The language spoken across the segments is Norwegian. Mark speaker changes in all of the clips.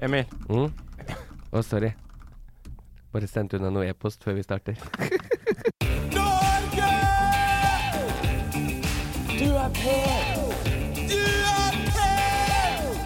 Speaker 1: Emil,
Speaker 2: Mm. Å, sorry. Bare sendt unna noe e-post før vi starter.
Speaker 3: Norge! Du er på! Du er på!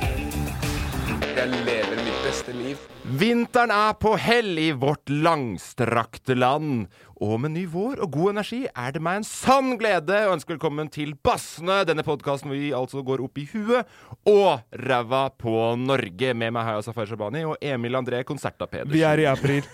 Speaker 4: Jeg lever mitt beste liv.
Speaker 1: vinteren er på hell i vårt langstrakte land. Og med ny vår og god energi er det meg en sann glede å ønske velkommen til Bassene, denne podkasten hvor vi altså går opp i huet og ræva på Norge. Med meg har jeg Safar Shabani og Emil André Konserta Pedersen.
Speaker 5: Vi er i april.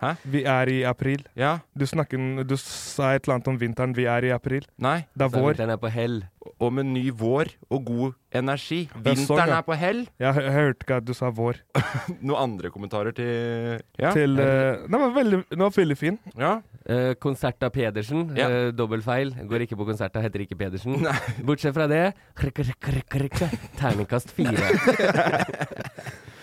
Speaker 1: Hæ?
Speaker 5: Vi er i april.
Speaker 1: Ja?
Speaker 5: Du, snakker, du sa et eller annet om vinteren. Vi er i april.
Speaker 1: Nei?
Speaker 5: Det er
Speaker 2: Så
Speaker 5: vår.
Speaker 2: vinteren er på hell.
Speaker 1: Og med ny vår og god energi.
Speaker 5: er sånn,
Speaker 1: Vinteren
Speaker 5: ja.
Speaker 1: er på hell.
Speaker 5: Jeg, hø- jeg hørte ikke at du sa vår.
Speaker 1: Noen andre kommentarer til Ja?
Speaker 5: Til, eh, den, var veldig, den var veldig fin.
Speaker 1: ja?
Speaker 2: Eh, Konsert av Pedersen.
Speaker 1: Ja.
Speaker 2: eh, dobbel feil. Går ikke på konsert av heter ikke Pedersen. Bortsett fra det krikk, krikk, krikk, krikk, Terningkast fire.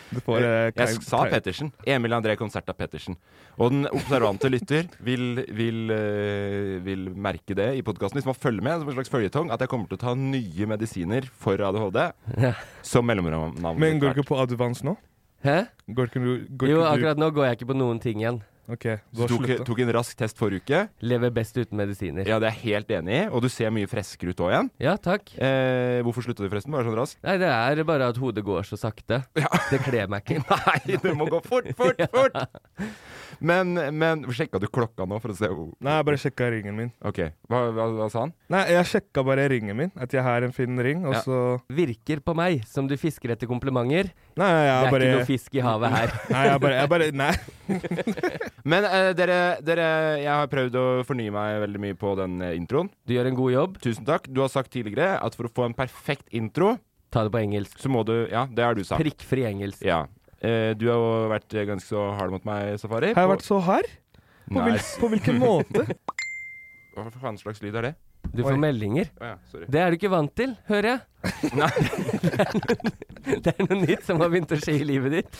Speaker 5: Du får, eh,
Speaker 1: Jeg
Speaker 5: klein-
Speaker 1: sa
Speaker 5: klein-
Speaker 1: Pettersen. Emil André Konserta Pettersen. Og den observante lytter vil, vil, eh, vil merke det i podkasten. Hvis man følger med som en slags føljetong, at jeg kommer til å ta nye medisiner for ADHD
Speaker 2: Ja.
Speaker 1: som mellomnavn.
Speaker 5: Men går
Speaker 1: etter hvert.
Speaker 5: ikke på advance nå?
Speaker 2: Hæ?
Speaker 5: Går ikke du går
Speaker 2: Jo,
Speaker 5: ikke du-
Speaker 2: akkurat nå går jeg ikke på noen ting igjen.
Speaker 5: Ok, du
Speaker 1: Så
Speaker 5: har
Speaker 1: tok,
Speaker 5: sluttet.
Speaker 1: tok en rask test forrige uke.
Speaker 2: Lever best uten medisiner. Ja,
Speaker 1: Ja, det er jeg helt enig i. Og du ser mye friskere ut òg igjen.
Speaker 2: takk.
Speaker 1: Eh, hvorfor slutta du forresten? Bare sånn raskt?
Speaker 2: Nei, det er bare at hodet går så sakte. Det kler meg ikke.
Speaker 1: Nei, det må gå fort, fort, fort! Men, men sjekka du klokka nå for å se hvor
Speaker 5: Nei, jeg bare sjekka ringen min.
Speaker 1: OK. Hva, hva, hva sa han?
Speaker 5: Nei, jeg sjekka bare ringen min. At jeg har en fin ring, og
Speaker 1: Ja.
Speaker 5: så
Speaker 2: Virker på meg som du fisker etter komplimenter.
Speaker 5: Nei, jeg
Speaker 2: Det
Speaker 5: er
Speaker 2: er
Speaker 5: bare
Speaker 2: ikke noe fisk i havet her.
Speaker 5: Nei, jeg bare, jeg bare Nei.
Speaker 1: Men eh, dere, dere, jeg har prøvd å fornye meg veldig mye på den eh, introen.
Speaker 2: Du gjør en god jobb.
Speaker 1: Tusen takk. Du har sagt tidligere at for å få en perfekt intro,
Speaker 2: Ta det på engelsk.
Speaker 1: så må du Ja, det har du sagt.
Speaker 2: Prikkfri engelsk.
Speaker 1: Ja. Eh, du har jo vært eh, ganske så hard mot meg, Safari.
Speaker 5: Har jeg vært så hard? På,
Speaker 1: Nei,
Speaker 5: hvil,
Speaker 1: s-
Speaker 5: på hvilken måte?
Speaker 1: Hva for faen slags lyd er det?
Speaker 2: Du får
Speaker 5: Oi.
Speaker 2: meldinger.
Speaker 1: Å ja, sorry.
Speaker 2: Det er du ikke vant til, hører jeg.
Speaker 1: Nei,
Speaker 2: Det er noe nytt som har begynt å skje i livet ditt.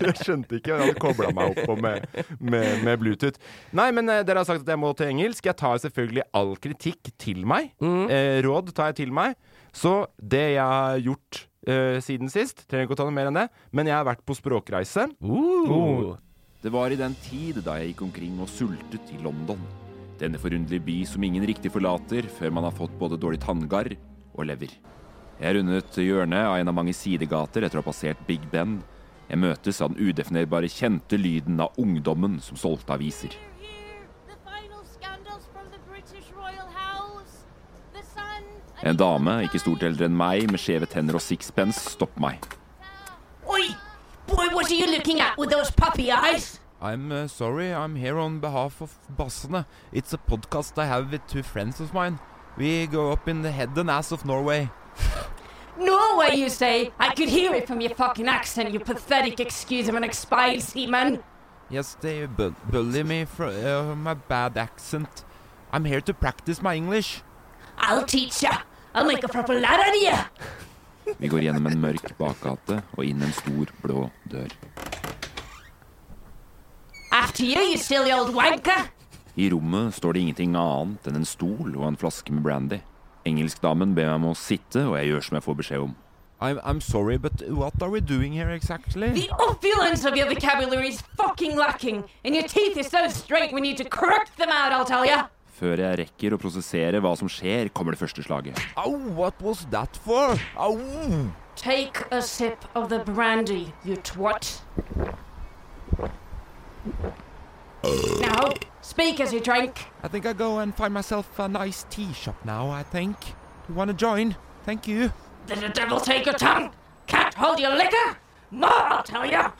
Speaker 1: jeg skjønte ikke. Jeg hadde kobla meg opp på med, med, med Bluetooth. Nei, men eh, dere har sagt at jeg må til engelsk. Jeg tar selvfølgelig all kritikk til meg.
Speaker 2: Mm.
Speaker 1: Eh, råd tar jeg til meg. Så det jeg har gjort eh, siden sist Trenger ikke å ta noe mer enn det. Men jeg har vært på språkreise.
Speaker 5: Oh,
Speaker 2: Uh.
Speaker 4: Det var i den tid da jeg gikk omkring og sultet i London. Denne forunderlige by som ingen riktig forlater før man har fått både dårlig tanngard og lever. Jeg rundet hjørnet av en av mange sidegater etter å ha passert Big Ben. Jeg møtes av den udefinerbare kjente lyden av ungdommen som solgte aviser. En dame, ikke stort eldre enn meg, med skjeve tenner og sixpence, stopp meg.
Speaker 6: Oi! Boy, what are you looking at with those puppy eyes?
Speaker 4: I'm uh, sorry, I'm here on behalf of Bassene. It's a podcast I have with two friends of mine. We go up in the head and ass of Norway.
Speaker 7: Norway, you say? I could hear it from your fucking accent, you pathetic excuse of an expired seaman.
Speaker 4: Yes, they bu- bully me for uh, my bad accent. I'm here to practice my English.
Speaker 7: I'll teach ya. I'll make a proper lad out of ya.
Speaker 4: Vi går gjennom en mørk bakgate og inn en stor, blå dør.
Speaker 7: After you, you silly old wanker.
Speaker 4: I rommet står det ingenting annet enn en stol og en flaske med brandy. Engelskdamen ber meg om å sitte, og jeg gjør som jeg får beskjed om.
Speaker 1: I'm, I'm sorry, but what are we doing here exactly?
Speaker 7: The opulence of your vocabulary is fucking lacking, and your teeth are so straight we need to correct them out, I'll tell ya.
Speaker 4: Før jeg rekker å prosessere hva som skjer, kommer det første slaget.
Speaker 1: Ow, what was that for? Ow!
Speaker 7: Take a sip of the brandy, you twat. Now, speak as you drink.
Speaker 1: I think I go and find myself a nice tea shop now, I think. You wanna join? Thank you.
Speaker 7: Did the devil take your tongue? Can't hold your liquor? More, I'll tell ya.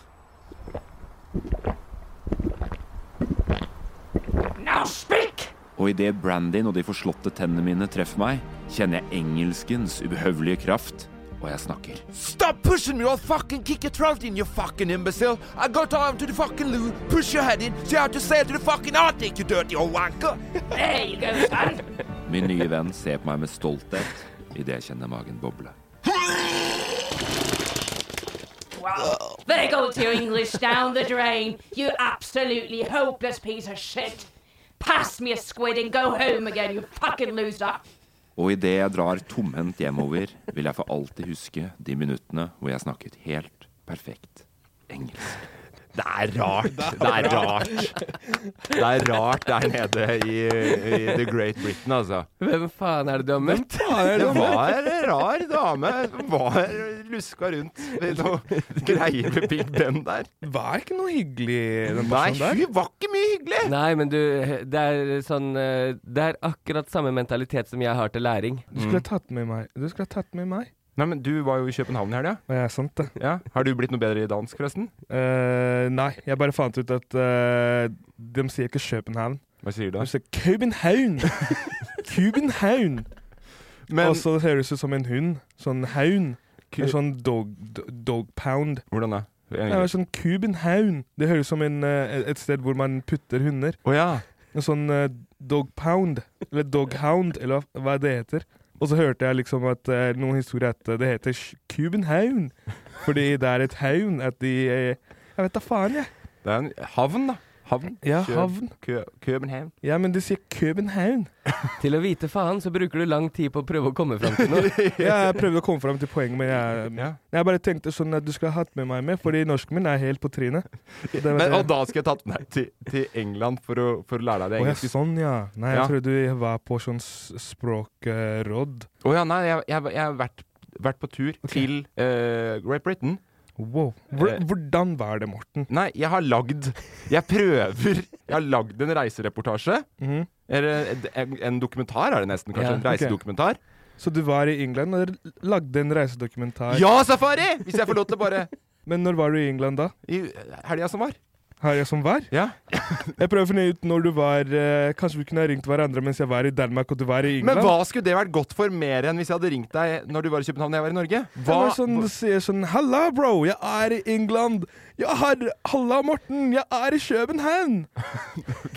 Speaker 7: Now speak!
Speaker 4: Og idet brandyen og de forslåtte tennene mine treffer meg, kjenner jeg engelskens ubehøvelige kraft, og jeg snakker.
Speaker 1: Stop pushing me or I'll fucking kick your throat in, you fucking imbecile! I go down to the fucking loo, push your head in, see how to sail to the fucking Arctic, you dirty old wanker!
Speaker 7: There you go, son.
Speaker 4: Min nye venn ser på meg med stolthet idet jeg kjenner magen boble.
Speaker 7: Well, there goes your English down the drain. You absolutely hopeless piece of shit. Pass me a squid and go home again, you fucking loser.
Speaker 4: Og idet jeg drar tomhendt hjemover, vil jeg for alltid huske de minuttene hvor jeg snakket helt perfekt engelsk.
Speaker 1: Det er rart. Det er rart. Det er rart der nede i, i The Great Britain, altså.
Speaker 2: Hvem faen er det du har møtt?
Speaker 1: Det var en rar dame som var luska rundt i noe greier med Big Ben der.
Speaker 5: Var ikke noe hyggelig
Speaker 1: Nei,
Speaker 5: den personen der.
Speaker 1: hun var ikke mye hyggelig!
Speaker 2: Nei, men du, det er sånn eh, Det er akkurat samme mentalitet som jeg har til læring.
Speaker 5: Du skulle ha
Speaker 1: Mm.
Speaker 5: tatt med meg. Du skulle ha tatt med meg.
Speaker 1: Nei, men Du var jo i København i helga.
Speaker 5: Det er sant, det.
Speaker 1: Ja. Har du blitt noe bedre i dansk, forresten?
Speaker 5: Eh, nei, jeg bare fant ut at eh, de sier ikke København.
Speaker 1: Hva sier du
Speaker 5: De sier København! København!
Speaker 1: Men
Speaker 5: Og så høres det ut som en hund. Sånn haun. En sånn dog, do- dog pound.
Speaker 1: Hvordan da?
Speaker 5: Det er sånn København. Det høres ut som en, eh, et sted hvor man putter hunder.
Speaker 1: Å ja.
Speaker 5: En sånn eh, dog pound, eller dog hound, eller hva- hva det heter. Og så hørte jeg liksom at eh, noen historier at eh, det heter Sh- København. Fordi det er et havn at de eh, Jeg vet da faen, jeg.
Speaker 1: Det er en havn, da. Havn.
Speaker 5: Ja,
Speaker 1: Kø-
Speaker 5: havn.
Speaker 1: Kø København.
Speaker 5: Ja, men de sier København.
Speaker 2: Til å vite faen, så bruker du lang tid på å prøve å komme fram til noe.
Speaker 5: Jeg prøvde å komme fram til poenget, men jeg,
Speaker 1: Ja.
Speaker 5: jeg bare tenkte sånn at du skulle ha hatt med meg med, fordi norsken min er helt på trynet. Det var
Speaker 1: Men,
Speaker 5: det.
Speaker 1: og da skal jeg tatt med deg til, til England for å, for å lære deg det
Speaker 5: Å ja,
Speaker 1: engelske.
Speaker 5: sånn, ja. Nei, jeg
Speaker 1: Ja.
Speaker 5: trodde vi var på sånn s- språkråd.
Speaker 1: sånn- Å ja, nei, jeg, jeg, jeg har vært, vært på tur til eh, Great Britain.
Speaker 5: Wow. Hvor,
Speaker 1: Eh.
Speaker 5: hvordan var det, Morten?
Speaker 1: Nei, jeg har lagd Jeg prøver Jeg har lagd en reisereportasje.
Speaker 5: Mhm.
Speaker 1: Eller en, en dokumentar er det nesten, kanskje.
Speaker 2: Ja,
Speaker 1: en reisedokumentar.
Speaker 5: Så du var i England og lagde en reisedokumentar.
Speaker 1: Ja, safari! Hvis jeg får lov til å bare
Speaker 5: Men når var du i England da?
Speaker 1: I helga som var.
Speaker 5: Har jeg som var?
Speaker 1: Ja.
Speaker 5: Jeg prøver å finne ut når du var eh, Kanskje vi kunne ha ringt hverandre mens jeg var i Danmark og du var i
Speaker 1: Men
Speaker 5: England?
Speaker 1: hva skulle det vært godt for mer enn hvis jeg hadde ringt deg når du var i København og jeg var i Norge? Hva,
Speaker 5: Eller sånn, du sier sånn Halla, bro, jeg er i England. Jeg har Halla, Morten, jeg er i København.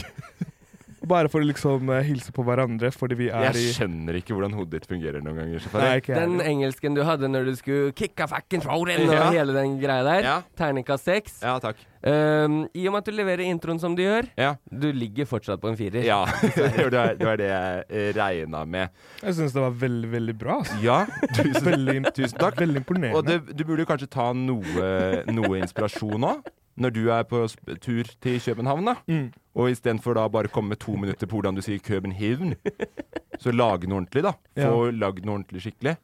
Speaker 5: Bare for å liksom eh, hilse på hverandre, fordi vi er
Speaker 1: jeg
Speaker 5: i
Speaker 1: skjønner ikke hvordan hodet ditt fungerer noen ganger. Safari.
Speaker 5: Nei, ikke jeg.
Speaker 2: Den engelsken du hadde når du skulle kicka fucking throwen og
Speaker 1: Ja.
Speaker 2: hele den greia der.
Speaker 1: Ja.
Speaker 2: Terningkast seks.
Speaker 1: Ja, takk.
Speaker 2: Um, I og med at du leverer introen som du gjør,
Speaker 1: Ja.
Speaker 2: du ligger fortsatt på en firer.
Speaker 1: Ja, det var det var det jeg regna med.
Speaker 5: Jeg syns det var veldig, veldig bra. ass.
Speaker 1: Ja, tusen,
Speaker 5: Veldig, imp-
Speaker 1: tusen takk.
Speaker 5: veldig imponerende.
Speaker 1: Og det, du burde jo kanskje ta noe, noe inspirasjon òg, når du er på sp- tur til København. da. Og istedenfor da bare komme med to minutter på hvordan du sier København, så lage noe ordentlig, da. Få lagd noe ordentlig skikkelig.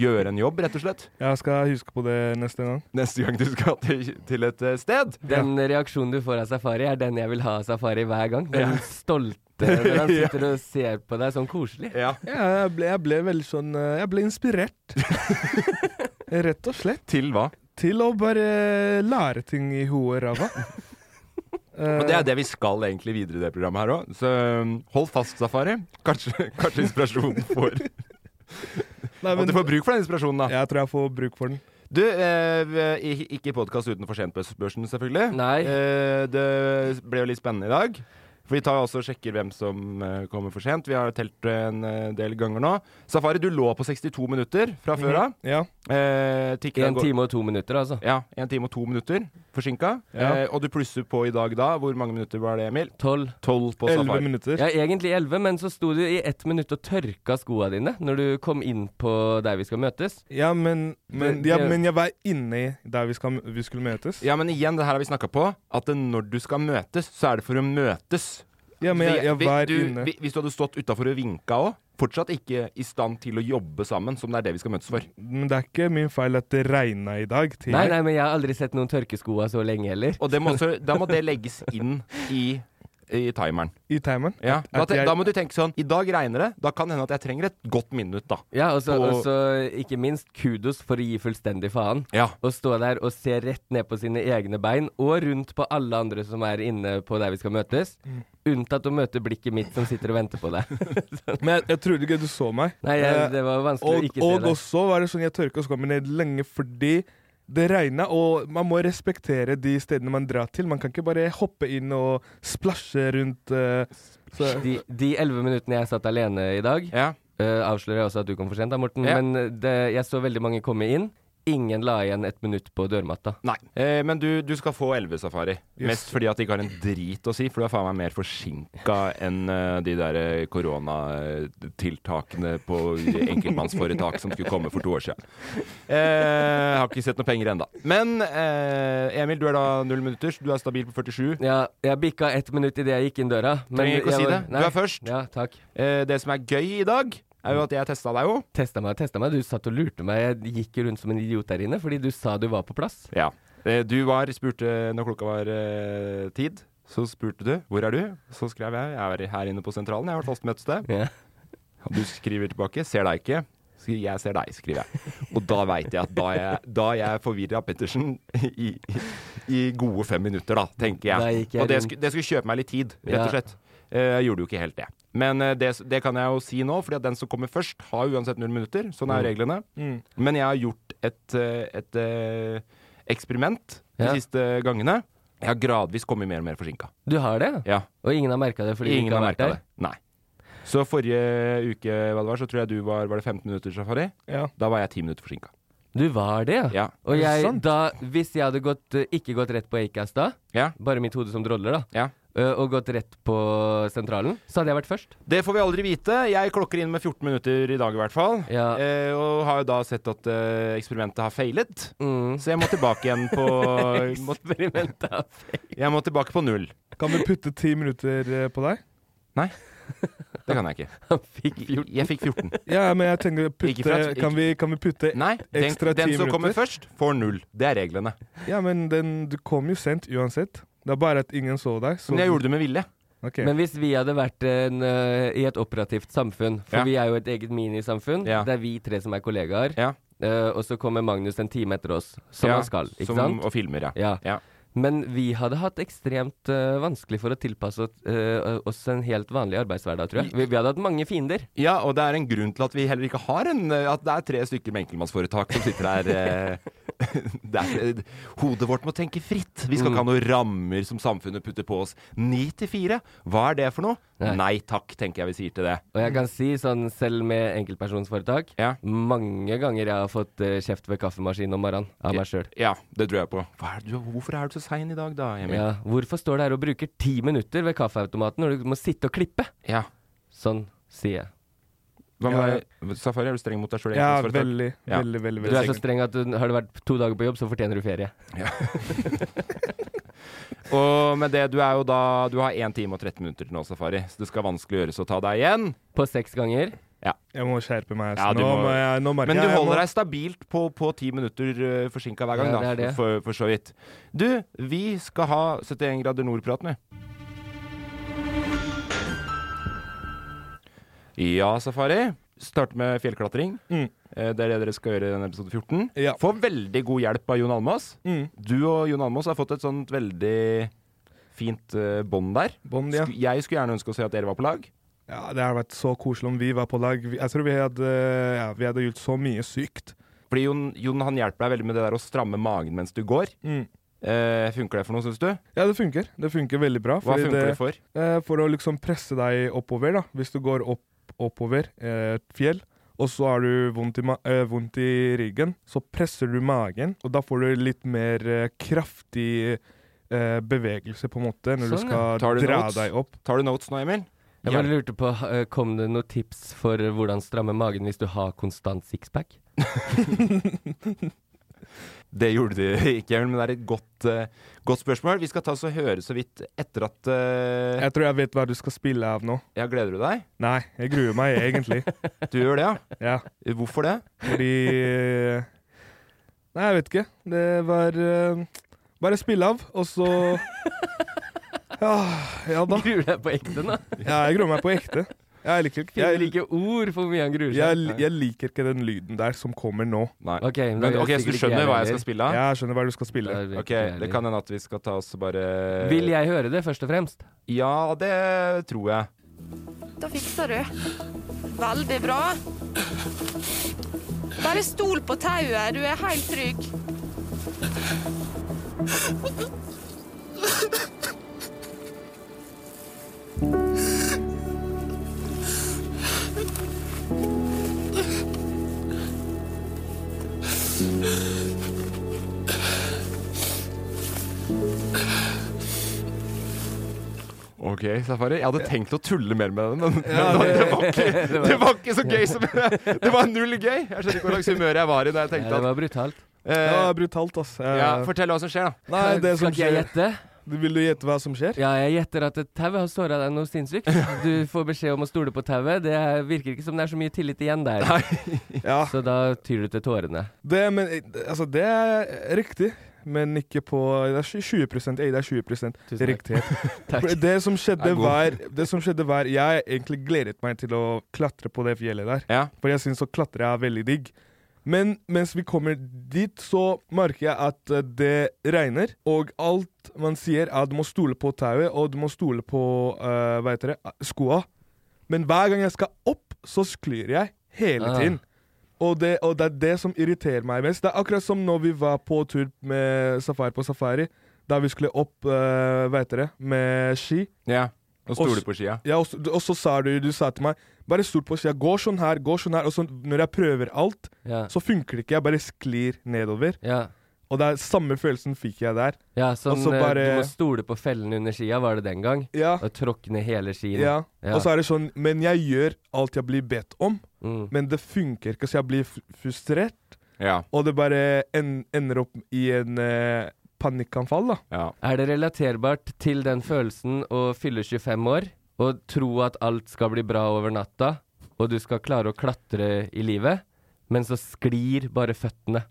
Speaker 1: Gjøre en jobb, rett og slett.
Speaker 5: Jeg skal huske på det neste gang.
Speaker 1: Neste gang du skal til, til et eh, sted.
Speaker 2: Den reaksjonen du får av Safari, er den jeg vil ha av Safari hver gang. Den stolte når han sitter og ser på deg sånn koselig.
Speaker 1: Ja.
Speaker 5: Ja, jeg ble, jeg ble veldig sånn eh, Jeg ble inspirert. Rett og slett.
Speaker 1: Til hva?
Speaker 5: Til å bare lære ting i hodet og ræva.
Speaker 1: Og det er det vi skal egentlig videre i det programmet her òg. Så um, hold fast, Safari.
Speaker 5: Eh,
Speaker 1: Kanskje, kanskje inspirasjonen får
Speaker 5: Nei,
Speaker 1: At
Speaker 5: men
Speaker 1: du får bruk for den inspirasjonen, da.
Speaker 5: jeg tror jeg får bruk for den.
Speaker 1: Du, eh, vi- ikke podkast utenfor sentbørsen, selvfølgelig.
Speaker 2: Nei.
Speaker 1: Eh, det ble jo litt spennende i dag. For de tar jo også og sjekker hvem som eh, kommer for sent. Vi har telt en eh, del ganger nå. Safari, du lå på 62 minutter fra før av.
Speaker 5: Ja.
Speaker 1: Eh, tikkeren
Speaker 2: En
Speaker 1: går-
Speaker 2: time og to minutter, altså.
Speaker 1: Ja, en time og to minutter forsinka.
Speaker 5: Ja.
Speaker 1: Eh, og du plusser på i dag da. Hvor mange minutter var det, Emil?
Speaker 2: Tolv.
Speaker 1: Tolv på
Speaker 5: Elleve
Speaker 1: safari.
Speaker 5: minutter.
Speaker 2: Ja, egentlig elleve, men så sto du i ett minutt og tørka skoa dine når du kom inn på der vi skal møtes.
Speaker 5: Ja, men, men,
Speaker 2: Det-
Speaker 5: ja,
Speaker 2: det-
Speaker 5: men jeg var inne der vi, skal, vi skulle møtes.
Speaker 1: Ja, men igjen, det her har vi snakka på. At det, når du skal møtes, så er det for å møtes.
Speaker 5: Ja, men jeg, jeg
Speaker 1: Vi-
Speaker 5: var
Speaker 1: du,
Speaker 5: inne.
Speaker 1: vi- Hvis du hadde stått utafor og vinka òg, fortsatt ikke i stand til å jobbe sammen, som det er det vi skal møtes for.
Speaker 5: Men det er ikke min feil at det regna i dag. Til.
Speaker 2: Nei, nei, men jeg har aldri sett noen tørke skoa så lenge heller.
Speaker 1: Og det må også, da må det legges inn i, i timeren.
Speaker 5: I timeren.
Speaker 1: Ja.
Speaker 5: At-
Speaker 1: Da,
Speaker 5: at
Speaker 1: te,
Speaker 5: jeg-
Speaker 1: da må du tenke sånn I dag regner det. Da kan det hende at jeg trenger et godt minutt, da.
Speaker 2: Ja, og så
Speaker 1: På-
Speaker 2: og så ikke minst kudos for å gi fullstendig faen.
Speaker 1: Ja.
Speaker 2: Å stå der og se rett ned på sine egne bein, og rundt på alle andre som er inne på der vi skal møtes.
Speaker 1: Mm.
Speaker 2: Unntatt å møte blikket mitt som sitter og venter på deg.
Speaker 5: Men jeg, jeg trodde ikke du så meg.
Speaker 2: Nei,
Speaker 5: Eh,
Speaker 2: jeg, det var vanskelig
Speaker 5: og,
Speaker 2: å ikke se
Speaker 5: og
Speaker 2: deg.
Speaker 5: også var det sånn jeg tørka skoene mine lenge fordi det regna, og man må respektere de stedene man drar til. Man kan ikke bare hoppe inn og splasje rundt. eh, så,
Speaker 2: De- De elleve minuttene jeg satt alene i dag,
Speaker 1: Ja.
Speaker 2: eh, avslører jeg også at du kom for sent, da, Morten.
Speaker 1: Ja.
Speaker 2: Men eh, det, jeg så veldig mange komme inn. Ingen la igjen et minutt på dørmatta.
Speaker 1: Nei. Eh, men du, du skal få elvesafari. Mest fordi at de ikke har en drit å si, for du er faen meg mer forsinka enn eh, de der eh, koronatiltakene på enkeltmannsforetak som skulle komme for to år siden. Eh, har ikke sett noe penger ennå. Men eh, Emil, du er da null minutter. Du er stabil på 47.
Speaker 2: Ja, jeg bikka ett minutt idet jeg gikk inn døra.
Speaker 1: Trenger ikke å
Speaker 2: jeg
Speaker 1: si
Speaker 2: var-
Speaker 1: det. Du er først.
Speaker 2: Ja, takk.
Speaker 1: Eh, det som er gøy i dag, er jo at jeg testa deg jo.
Speaker 2: Testa meg og testa meg. Du satt og lurte meg. Jeg gikk rundt som en idiot der inne fordi du sa du var på plass.
Speaker 1: Ja. Eh, Du var, spurte når klokka var eh, tid. Så spurte du 'Hvor er du?' Så skrev jeg 'Jeg er her inne på sentralen. Jeg har vært fast møtested'.
Speaker 2: Ja.
Speaker 1: Og du skriver tilbake 'Ser deg ikke'. Så skriver jeg, 'Jeg ser deg', skriver jeg. Og da veit jeg at da er jeg, da er jeg forvirra Pettersen i, i, i gode fem minutter, da, tenker
Speaker 2: Da
Speaker 1: jeg.
Speaker 2: gikk jeg
Speaker 1: og det
Speaker 2: rundt.
Speaker 1: skulle, det skulle kjøpe meg litt tid, rett og
Speaker 2: Ja.
Speaker 1: slett. Eh, Jeg gjorde jo ikke helt det. Men eh, det, det kan jeg jo si nå, fordi at den som kommer først, har uansett null minutter. Sånn
Speaker 2: Mm.
Speaker 1: er jo reglene. Men jeg har gjort et, eh, et eh, eksperiment de
Speaker 2: Ja.
Speaker 1: siste gangene. Jeg har gradvis kommet mer og mer forsinka.
Speaker 2: Du har det?
Speaker 1: Ja.
Speaker 2: Og ingen har merka det fordi du
Speaker 1: Ingen
Speaker 2: ikke
Speaker 1: har
Speaker 2: har vært
Speaker 1: merka det.
Speaker 2: der?
Speaker 1: Nei. Så forrige uke hva det var, så tror jeg du var Var det 15 minutter safari?
Speaker 5: ja.
Speaker 1: Da var jeg 10 minutter forsinka.
Speaker 2: Du var det,
Speaker 1: Ja.
Speaker 2: Og
Speaker 5: det
Speaker 2: jeg,
Speaker 5: sant?
Speaker 2: da, hvis jeg hadde gått, eh, ikke gått rett på Acast da,
Speaker 1: Ja.
Speaker 2: bare mitt hode som droller, da,
Speaker 1: ja.
Speaker 2: eh, og gått rett på sentralen, så hadde jeg vært først.
Speaker 1: Det får vi aldri vite. Jeg klokker inn med 14 minutter i dag i hvert fall.
Speaker 2: Ja.
Speaker 1: Eh, og har jo da sett at eh, eksperimentet har feilet.
Speaker 2: Mm.
Speaker 1: Så jeg må tilbake igjen på må,
Speaker 2: Eksperimentet har feil.
Speaker 1: Jeg må tilbake på null.
Speaker 5: Kan vi putte ti minutter eh, på deg?
Speaker 1: Det kan jeg ikke.
Speaker 2: Han fikk 14.
Speaker 1: Jeg fikk 14.
Speaker 5: Ja, men jeg tenker å
Speaker 1: Ikke for
Speaker 5: putte
Speaker 1: at-
Speaker 5: Kan vi, kan vi putte
Speaker 1: Nei, den,
Speaker 5: Ekstra
Speaker 1: den
Speaker 5: ti
Speaker 1: som kommer
Speaker 5: minutter.
Speaker 1: først, får null. Det er reglene.
Speaker 5: Ja, men den, du kom jo sent uansett. Det er bare at ingen så deg. Så
Speaker 1: Men jeg gjorde det med vilje.
Speaker 5: Ok.
Speaker 2: Men hvis vi hadde vært en, eh, i et operativt samfunn, for
Speaker 1: Ja.
Speaker 2: vi er jo et eget minisamfunn,
Speaker 1: Ja.
Speaker 2: det er vi tre som er kollegaer,
Speaker 1: Ja.
Speaker 2: eh, og så kommer Magnus en time etter oss, som
Speaker 1: Ja,
Speaker 2: han skal, ikke
Speaker 1: som,
Speaker 2: sant?
Speaker 1: Og filmer, ja.
Speaker 2: Ja.
Speaker 1: Ja.
Speaker 2: Men vi hadde hatt ekstremt eh, vanskelig for å tilpasse oss, eh, oss en helt vanlig arbeidshverdag, tror jeg. Vi, vi hadde hatt mange fiender.
Speaker 1: ja, og det er en grunn til at vi heller ikke har en eh, At det er tre stykker med enkeltmannsforetak som sitter der. eh, det er, hodet vårt må tenke fritt. Vi skal
Speaker 5: Mm.
Speaker 1: ikke ha noen rammer som samfunnet putter på oss. Ni til fire, hva er det for noe?
Speaker 2: Nei.
Speaker 1: Nei takk, tenker jeg vi sier til det.
Speaker 2: Og jeg kan si, sånn selv med enkeltpersonsforetak,
Speaker 1: Ja.
Speaker 2: mange ganger jeg har fått eh, kjeft ved kaffemaskinen om morgenen av meg sjøl.
Speaker 1: Ja, det tror jeg på. Hva er det, du- hvorfor er du så sein i dag, da, Emil?
Speaker 2: Ja, hvorfor står du her og bruker ti minutter ved kaffeautomaten når du må sitte og klippe?
Speaker 1: Ja.
Speaker 2: Sånn sier jeg.
Speaker 1: Hva med
Speaker 5: Ja,
Speaker 1: deg? Safari, er du streng mot deg sjøl?
Speaker 5: ja, veldig,
Speaker 1: Ja.
Speaker 5: veldig, veldig,
Speaker 2: Du er så
Speaker 5: veldig.
Speaker 2: streng at du, har du vært to dager på jobb, så fortjener du ferie.
Speaker 1: Og med det, du er jo da Du har 1 time og 13 minutter til nå, Safari, så det skal vanskelig gjøres å ta deg igjen.
Speaker 2: På seks ganger.
Speaker 5: Jeg må skjerpe meg.
Speaker 1: Ja,
Speaker 5: så
Speaker 1: du
Speaker 5: nå,
Speaker 1: må-
Speaker 5: må jeg, nå merker
Speaker 1: Men du
Speaker 5: jeg jeg
Speaker 1: holder
Speaker 5: må-
Speaker 1: deg stabilt på, på 10 minutter uh, forsinka hver gang,
Speaker 2: Ja,
Speaker 1: da.
Speaker 2: det er det.
Speaker 1: For, for så vidt. Du, vi skal ha 71 grader nord-prat med. Ja, Safari. Starte med fjellklatring.
Speaker 5: Mm.
Speaker 1: Eh, Det er det dere skal gjøre i denne episode 14.
Speaker 5: Ja.
Speaker 1: Får veldig god hjelp av Jon Almaas.
Speaker 5: Mm.
Speaker 1: Du og Jon Almaas har fått et sånt veldig fint eh, bånd der.
Speaker 5: Bånd, ja.
Speaker 1: Sku- Jeg skulle gjerne ønske å se at dere var på lag.
Speaker 5: ja. Det hadde vært så koselig om vi var på lag. Vi- Jeg tror vi hadde, ja, vi hadde gjort så mye sykt.
Speaker 1: Fordi Jon, Jon han hjelper deg veldig med det der å stramme magen mens du går. Eh, funker det for noe, syns du?
Speaker 5: Mm. Ja, det funker. Det funker veldig bra.
Speaker 1: Hva
Speaker 5: fordi
Speaker 1: funker det, for?
Speaker 5: Eh, for å liksom presse deg oppover, da. Hvis du går opp, oppover eh, et fjell, og så har du vondt i, ma eh, vondt i ryggen, så presser du magen, og da får du litt mer eh, kraftig eh, bevegelse, på en måte, når
Speaker 2: Sånn,
Speaker 5: du
Speaker 2: ja.
Speaker 5: skal
Speaker 1: Tar du
Speaker 5: dra
Speaker 1: notes?
Speaker 5: deg opp.
Speaker 1: Tar du notes nå, Emil?
Speaker 2: Jeg bare lurte på, eh, Kom det noen tips for eh, hvordan stramme magen hvis du har konstant sixpack?
Speaker 1: Det gjorde du ikke, Emil, men det er et godt, eh, godt spørsmål. Vi skal ta oss og høre så vidt etter at eh,
Speaker 5: Jeg tror jeg vet hva du skal spille av nå.
Speaker 1: Ja, gleder du deg?
Speaker 5: Nei, jeg gruer meg egentlig.
Speaker 1: Du gjør det, ja?
Speaker 5: Ja,
Speaker 1: Hvorfor det?
Speaker 5: fordi eh, Nei, jeg vet ikke. Det var eh, bare spille av, og så ja, ja da.
Speaker 2: Gruer deg på ekte nå?
Speaker 5: Ja, jeg gruer meg på ekte. Jeg liker, ikke-
Speaker 2: Finner
Speaker 5: jeg,
Speaker 2: ikke ord for hvor mye han gruer
Speaker 5: jeg,
Speaker 2: seg.
Speaker 5: jeg liker ikke den lyden der som kommer nå.
Speaker 1: Nei.
Speaker 2: Ok, men da
Speaker 1: men,
Speaker 2: gjør
Speaker 1: ok, så
Speaker 2: sikkert
Speaker 1: du
Speaker 2: ikke
Speaker 1: skjønner
Speaker 2: jeg
Speaker 1: hva jeg
Speaker 2: heller.
Speaker 1: skal spille av?
Speaker 5: Jeg skjønner hva du skal spille.
Speaker 2: Da vet
Speaker 1: Ok,
Speaker 2: ikke jeg
Speaker 1: Det
Speaker 2: heller.
Speaker 1: kan hende at vi skal ta oss og bare
Speaker 2: Vil jeg høre det, først og fremst?
Speaker 1: Ja, det tror jeg.
Speaker 8: Da fikser du. Veldig bra. Bare stol på tauet, du er helt trygg.
Speaker 1: Ok, Safari. Jeg hadde tenkt å tulle mer med den, men
Speaker 5: Ja,
Speaker 1: men det,
Speaker 5: det-
Speaker 1: var ikke, det var ikke så gøy som Det var null gøy! Jeg skjønner ikke hva slags humør jeg var i da jeg
Speaker 2: Nei, det
Speaker 1: tenkte at
Speaker 2: var brutalt.
Speaker 5: Det
Speaker 1: eh,
Speaker 5: var brutalt, ass. Jeg-
Speaker 1: ja, Fortell hva som skjer, da.
Speaker 5: Nei, det som
Speaker 2: Skal ikke jeg
Speaker 5: skjer
Speaker 2: gjette?
Speaker 5: Vil du gjette hva som skjer?
Speaker 2: Ja, jeg gjetter at et tau har såra deg noe sinnssykt. Du får beskjed om å stole på tauet. Det er- virker ikke som det er så mye tillit igjen der.
Speaker 5: Ja,
Speaker 2: Så da tyr du til tårene.
Speaker 5: det, men, eh, altså, det er riktig, men ikke på Det er 20 eh, Det er 20
Speaker 2: Tusen takk.
Speaker 5: riktighet. For
Speaker 2: Takk.
Speaker 5: Det som skjedde
Speaker 1: er god.
Speaker 5: var Det som skjedde var Jeg egentlig gledet meg til å klatre på det fjellet der.
Speaker 1: Ja.
Speaker 5: For jeg syns å klatre er veldig digg. Men mens vi kommer dit, så merker jeg at eh, det regner. Og alt man sier, er at du må stole på tauet, og du må stole på eh, hva heter det, skoa. Men hver gang jeg skal opp, så sklir jeg hele
Speaker 2: Ah.
Speaker 5: tiden. Og det, og det er det som irriterer meg mest. Det er akkurat som når vi var på tur med Safari på Safari. Da vi skulle opp eh, hva heter det, med ski.
Speaker 1: ja. Og
Speaker 5: Og
Speaker 1: stole
Speaker 5: s-
Speaker 1: på skia.
Speaker 5: Ja, og, så- og så sa du du sa til meg Bare stol på sida. Gå sånn her, gå sånn her. Og så når jeg prøver alt,
Speaker 2: Ja.
Speaker 5: så funker det ikke. Jeg bare sklir nedover.
Speaker 2: Ja.
Speaker 5: Og det er samme følelsen fikk jeg der.
Speaker 2: Ja, sånn
Speaker 5: Og så
Speaker 2: eh,
Speaker 5: bare-
Speaker 2: du må stole på fellen under skia, var det den gang?
Speaker 5: Ja,
Speaker 2: Og tråkke ned hele skien.
Speaker 5: ja.
Speaker 2: Ja.
Speaker 5: Og så er det sånn Men jeg gjør alt jeg blir bedt om,
Speaker 2: Mm.
Speaker 5: men det funker ikke, så jeg blir f- frustrert.
Speaker 1: Ja.
Speaker 5: Og det bare en, ender opp i en eh, panikkanfall, da.
Speaker 1: ja.
Speaker 2: Er det relaterbart til den følelsen å fylle 25 år og tro at alt skal bli bra over natta, og du skal klare å klatre i livet, men så sklir bare føttene?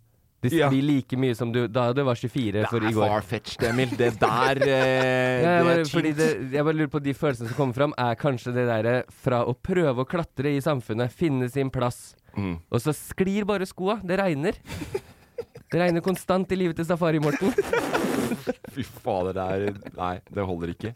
Speaker 2: De sklir
Speaker 5: Ja.
Speaker 2: like mye som du da du var 24 for i går.
Speaker 1: farfetched, Emil. Det der eh,
Speaker 2: Ja, jeg,
Speaker 1: det
Speaker 2: bare,
Speaker 1: er
Speaker 2: fordi
Speaker 1: tynt.
Speaker 2: det, jeg bare lurer på de følelsene som kommer fram, er kanskje det derre fra å prøve å klatre i samfunnet, finne sin plass,
Speaker 1: Mm.
Speaker 2: og så sklir bare skoa. Det regner. Det regner konstant i livet til Safari, Morten.
Speaker 1: Fy fader, det er Nei, det holder ikke.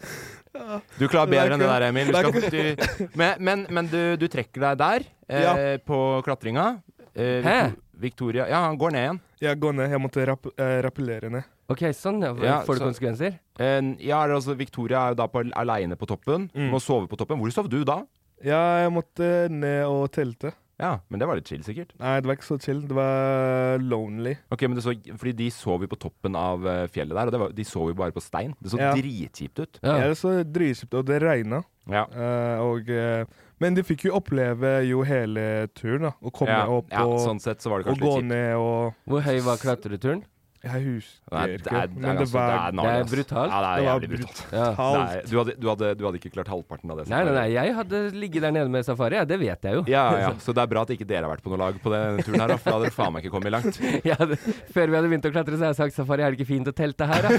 Speaker 1: Du klarer bedre enn det der, Emil. Du skal, du, men men, men du, du trekker deg der, eh,
Speaker 5: Ja.
Speaker 1: på klatringa. Eh,
Speaker 2: Hæ?
Speaker 1: Victoria Ja, han går ned igjen.
Speaker 5: Jeg går ned. Jeg måtte rap eh, rappellere ned.
Speaker 2: OK, sånn, ja.
Speaker 1: Ja,
Speaker 2: Får det
Speaker 1: så-
Speaker 2: konsekvenser?
Speaker 1: Eh, ja, altså, Victoria er jo da på, alene på toppen.
Speaker 5: Mm.
Speaker 1: Må sove på toppen. Hvor sov du da?
Speaker 5: Ja, jeg måtte ned og telte.
Speaker 1: Ja, men det var litt chill, sikkert.
Speaker 5: Nei, det var ikke så chill. Det var lonely.
Speaker 1: Ok, men det så, Fordi de sov jo på toppen av eh, fjellet der, og det var, de sov jo bare på stein. Det så
Speaker 5: Ja.
Speaker 1: dritkjipt ut.
Speaker 2: Ja.
Speaker 5: Ja, det så dritkjipt, og det regna.
Speaker 1: Ja.
Speaker 5: eh, og, eh, men de fikk jo oppleve jo hele turen, da. Å komme
Speaker 1: Ja,
Speaker 5: opp
Speaker 1: ja,
Speaker 5: og,
Speaker 1: sånn sett så var det
Speaker 5: og
Speaker 1: kanskje
Speaker 5: gå
Speaker 1: litt kjipt.
Speaker 5: ned og
Speaker 2: Hvor høy var klatreturen?
Speaker 5: Jeg husker
Speaker 1: Nei, det er, det
Speaker 5: ikke,
Speaker 1: er,
Speaker 5: men det
Speaker 1: ganske-
Speaker 5: var
Speaker 1: gnarlig,
Speaker 2: Det er
Speaker 1: ass.
Speaker 2: brutalt.
Speaker 1: Ja, det er
Speaker 5: Det var
Speaker 1: jævlig brutalt.
Speaker 2: Ja.
Speaker 5: halvt.
Speaker 1: Nei, du hadde, du, hadde, du hadde ikke klart halvparten av det. som
Speaker 2: Nei, nei,
Speaker 1: var-
Speaker 2: nei, jeg hadde ligget der nede med Safari, ja, det vet jeg jo.
Speaker 1: Ja, ja, ja. Så det er bra at ikke dere har vært på noe lag på denne turen her, da, for da hadde dere faen meg ikke kommet langt.
Speaker 2: Jeg hadde, før vi hadde begynt å klatre, så hadde jeg sagt Safari, er det ikke fint å telte her, da?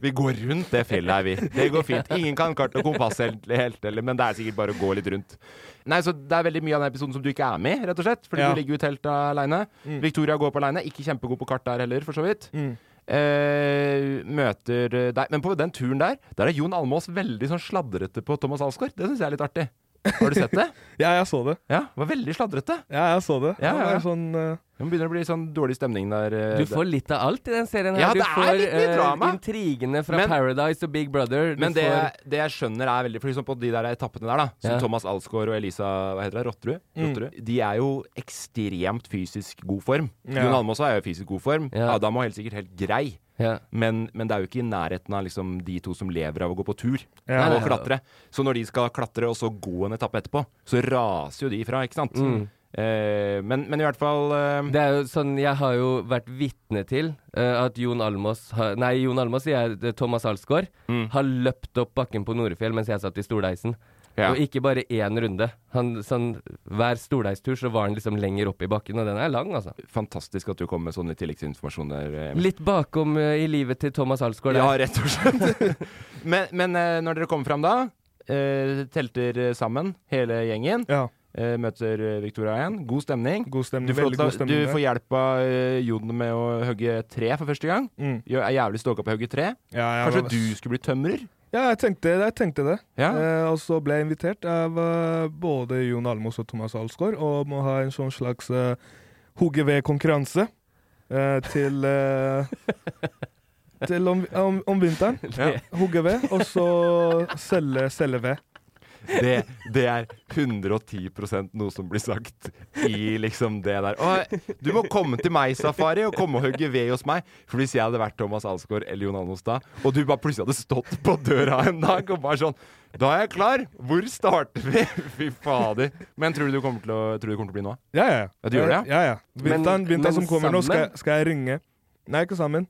Speaker 1: Vi går rundt det fjellet her, vi. Det går fint. Ingen kan kart og kompass helt, helt eller, men det er sikkert bare å gå litt rundt. Nei, så det er veldig mye av den episoden som du ikke er med, i, rett og slett. Fordi
Speaker 5: Ja.
Speaker 1: du ligger jo i teltet aleine.
Speaker 9: Mm.
Speaker 1: Victoria går på aleine. Ikke kjempegod på kart der heller, for så vidt.
Speaker 5: Mm.
Speaker 1: Eh, møter eh, deg Men på den turen der, der er Jon Almaas veldig sånn sladrete på Thomas Alsgaard. Det syns jeg er litt artig. Har du sett det?
Speaker 5: ja, jeg så det.
Speaker 1: Ja, det var veldig sladrete.
Speaker 5: Ja, jeg så det.
Speaker 1: Ja,
Speaker 5: Det
Speaker 1: ja.
Speaker 5: er Sånn, eh,
Speaker 1: Det begynner å bli sånn dårlig stemning der. eh,
Speaker 2: Du får litt av alt i den serien her.
Speaker 1: Ja,
Speaker 2: du
Speaker 1: det er
Speaker 2: får
Speaker 1: litt mye
Speaker 2: eh,
Speaker 1: drama.
Speaker 2: intrigene fra
Speaker 1: Men-
Speaker 2: Paradise og Big Brother. Du
Speaker 1: Men det,
Speaker 2: får,
Speaker 1: det jeg skjønner er veldig For eksempel på de der etappene der da Som
Speaker 2: Ja.
Speaker 1: Thomas Alsgaard og Elisa Hva heter det? Rotterud?
Speaker 5: Mm.
Speaker 1: Rotterud. De er jo ekstremt fysisk god form
Speaker 5: Ja.
Speaker 1: Jon Almaas er jo i fysisk god form
Speaker 2: Ja.
Speaker 1: Adam var helt sikkert helt grei
Speaker 2: ja.
Speaker 1: men, men det er jo ikke i nærheten av liksom, de to som lever av å gå på tur
Speaker 5: Ja.
Speaker 1: og klatre. Så når de skal klatre og så gå en etappe etterpå, så raser jo de ifra, ikke sant?
Speaker 5: Mm.
Speaker 1: Eh, men, men i hvert fall eh,
Speaker 2: Det er jo sånn, Jeg har jo vært vitne til eh, at Jon Almaas har- Nei, Jon Almaas sier jeg, det er Thomas Alsgaard
Speaker 1: Mm.
Speaker 2: har løpt opp bakken på Norefjell mens jeg satt i Stolheisen.
Speaker 1: Ja.
Speaker 2: Og ikke bare én runde. Han, sånn, hver stolheistur så var han liksom lenger opp i bakken, og den er lang, altså.
Speaker 1: Fantastisk at du kom med sånn litt tilleggsinformasjon der. eh, Emil.
Speaker 2: Litt bakom eh, i livet til Thomas Alsgaard.
Speaker 1: Ja,
Speaker 2: der.
Speaker 1: rett og slett. men men eh, når dere kommer fram da, eh, telter eh, sammen, hele gjengen,
Speaker 5: mm. ja.
Speaker 1: eh, møter eh, Victoria igjen. God stemning.
Speaker 5: God
Speaker 1: Du
Speaker 5: stemning.
Speaker 1: får,
Speaker 5: Veldig
Speaker 1: lov til
Speaker 5: god
Speaker 1: å- du
Speaker 5: stemning. der.
Speaker 1: får hjelp av eh, Jon med å hogge et tre for første gang.
Speaker 5: Mm.
Speaker 1: Jeg er jævlig stoka på å hogge tre.
Speaker 5: Ja, jeg
Speaker 1: Kanskje
Speaker 5: var-
Speaker 1: du skulle bli tømrer?
Speaker 5: Ja, jeg tenkte, jeg tenkte det.
Speaker 1: Ja.
Speaker 5: Eh, og så ble jeg invitert av eh, både Jon Almos og Thomas Alsgaard og må ha en sånn slags eh, hugge ved-konkurranse eh, til eh, Til om, om, om vinteren.
Speaker 1: Ja.
Speaker 5: Hugge ved, og så selge, selge ved.
Speaker 1: Det, det er 110 noe som blir sagt i liksom det der. Å, du må komme til meg, Safari, og komme og hogge ved hos meg. For hvis jeg hadde vært Thomas Alsgaard eller Jon Almaas da, og du bare plutselig hadde stått på døra en dag og bare sånn Da er jeg klar! Hvor starter vi? Fy fader. Men tror du du kommer til å, tror du det kommer til å bli noe av?
Speaker 5: Ja, ja.
Speaker 1: Ja, du gjør det, ja?
Speaker 5: ja, ja. Vinteren,
Speaker 2: Men-
Speaker 5: vinteren
Speaker 2: men
Speaker 5: som kommer nå, skal,
Speaker 2: sammen?
Speaker 5: jeg- skal jeg ringe. Nei, ikke sammen.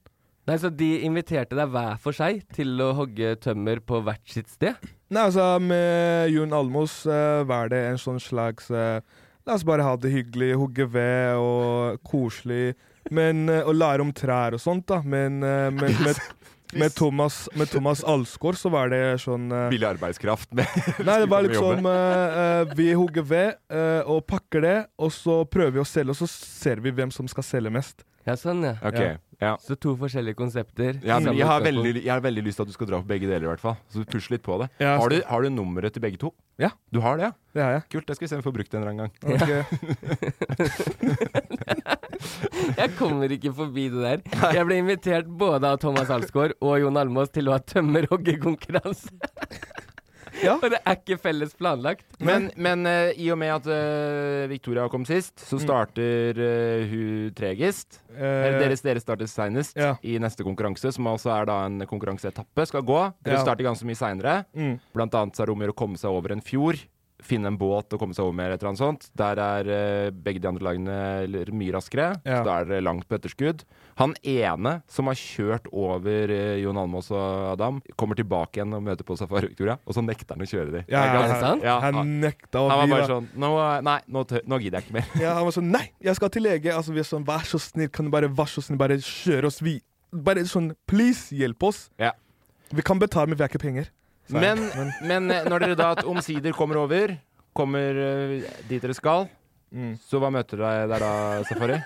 Speaker 2: Nei, Så de inviterte deg hver for seg til å hogge tømmer på hvert sitt sted?
Speaker 5: Nei, altså, med Jon Almos eh, var det en sånn slags eh, La oss bare ha det hyggelig, hugge ved og koselig. Men, eh, og lære om trær og sånt, da. Men eh, med, med, med, Thomas, med Thomas Alsgaard så var det sånn eh,
Speaker 1: Billig arbeidskraft med
Speaker 5: Nei, det var
Speaker 1: skulle komme og
Speaker 5: liksom eh, eh, Vi hugger ved eh, og pakker det, og så prøver vi å selge, og så ser vi hvem som skal selge mest.
Speaker 2: Ja, sånn, ja.
Speaker 1: jobbe. Ok, ja.
Speaker 2: Så to forskjellige konsepter.
Speaker 1: Ja, men
Speaker 2: Samme
Speaker 1: jeg, har
Speaker 2: utgangspunkt.
Speaker 1: veldig, jeg har veldig lyst til at du skal dra på begge deler, i hvert fall. Så push litt på det.
Speaker 5: Ja,
Speaker 1: Har du, har du nummeret til begge to?
Speaker 5: Ja.
Speaker 1: Du har det, ja?
Speaker 5: Det har jeg.
Speaker 1: Kult, det skal vi se om vi får brukt en eller annen gang.
Speaker 5: Ok. eh,
Speaker 2: Jeg kommer ikke forbi det der. Jeg ble invitert både av Thomas Alsgaard og Jon Almaas til å ha tømmerhoggekonkurranse.
Speaker 5: Ja.
Speaker 2: Og det er ikke felles planlagt.
Speaker 1: Men, men eh, i og med at eh, Victoria kom sist, så starter eh, hun tregest. Eller
Speaker 5: Mm. Eh,
Speaker 1: Deres, dere starter seinest
Speaker 5: ja.
Speaker 1: i neste konkurranse, som altså er da en konkurranseetappe, skal gå. Dere
Speaker 5: Ja.
Speaker 1: starter ganske mye seinere.
Speaker 5: Mm.
Speaker 1: Blant annet så er det om å gjøre å komme seg over en fjord. Finne en båt og komme seg over med, eller et eller annet sånt. Der er eh, begge de andre lagene eller, mye raskere, så
Speaker 5: Ja.
Speaker 1: da er dere langt på etterskudd. Han ene som har kjørt over eh, Jon Almaas og Adam, kommer tilbake igjen og møter på Safari Victoria, og så nekter han å kjøre dem.
Speaker 5: Ja,
Speaker 2: Er det sant?
Speaker 5: han,
Speaker 1: Ja,
Speaker 5: han nekta å
Speaker 1: Han var
Speaker 5: bli
Speaker 1: bare
Speaker 5: da.
Speaker 1: sånn Nå, nei, nå, tø- nå gidder jeg ikke mer.
Speaker 5: Ja, han var sånn Nei, jeg skal til lege. Altså, vi er sånn, Vær så snill, kan du bare vær så snill, bare kjøre oss vi Bare sånn, please, hjelp oss.
Speaker 1: Ja.
Speaker 5: Vi kan betale, men vi har ikke penger. Så-
Speaker 1: Men, men eh, når dere da at omsider kommer over, kommer eh, dit dere skal,
Speaker 5: Mm.
Speaker 1: så hva møter deg der da, Safari?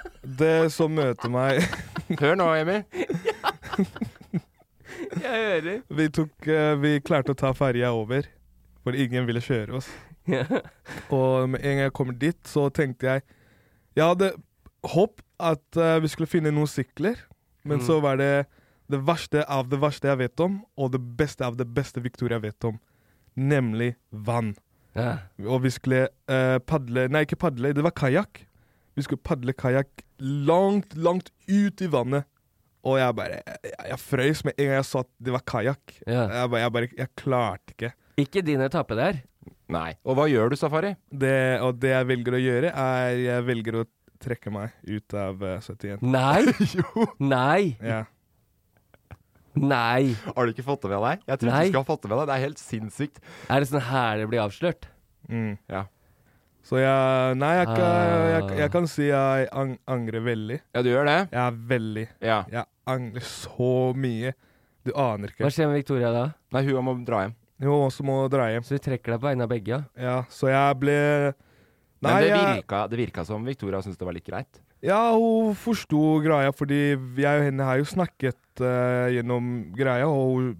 Speaker 5: Det som møter meg
Speaker 1: Hør nå, Emil.
Speaker 2: Jeg hører.
Speaker 5: Vi tok eh, Vi klarte å ta ferja over, for ingen ville kjøre oss.
Speaker 2: Ja.
Speaker 5: Og med en gang jeg kommer dit, så tenkte jeg Jeg hadde håp at eh, vi skulle finne noen sykler, men
Speaker 1: Mm.
Speaker 5: så var det det verste av det verste jeg vet om, og det beste av det beste Victoria vet om, nemlig vann.
Speaker 2: Ja.
Speaker 5: Og vi skulle eh, padle Nei, ikke padle, det var kajakk. Vi skulle padle kajakk langt, langt ut i vannet. Og jeg bare Jeg, jeg frøys med en gang jeg så at det var kajakk.
Speaker 2: Ja.
Speaker 5: Jeg, bare- jeg bare Jeg klarte ikke.
Speaker 2: Ikke din etappe der.
Speaker 1: Nei. Og hva gjør du, Safari?
Speaker 5: Det, og det jeg velger å gjøre, er Jeg velger å trekke meg ut av eh, 71.
Speaker 2: Nei. Nei.
Speaker 5: Ja.
Speaker 2: Nei.
Speaker 1: Har du ikke fått det med deg? Jeg tror
Speaker 2: Nei.
Speaker 1: du skal ha fått det med deg. Det er helt sinnssykt.
Speaker 2: Er det sånn her det blir avslørt?
Speaker 5: Mm.
Speaker 1: Ja.
Speaker 5: Så jeg Nei, jeg, kan- jeg,
Speaker 2: Ah.
Speaker 5: jeg kan si jeg ang angrer veldig.
Speaker 1: Ja, du gjør det?
Speaker 5: Jeg er veldig
Speaker 1: Ja.
Speaker 5: Jeg angrer så mye. Du aner
Speaker 2: Hva
Speaker 5: ikke.
Speaker 2: skjer med Victoria da?
Speaker 1: Nei, hun må dra hjem.
Speaker 5: Jo, også må dra hjem.
Speaker 2: Så du trekker deg på vegne av begge? Ja.
Speaker 5: Ja, så jeg ble Nei,
Speaker 1: Men det
Speaker 5: jeg,
Speaker 1: virka, det virka som Victoria syntes det var litt greit.
Speaker 5: ja, hun forsto greia, fordi jeg og henne har jo snakket eh, gjennom greia, og hun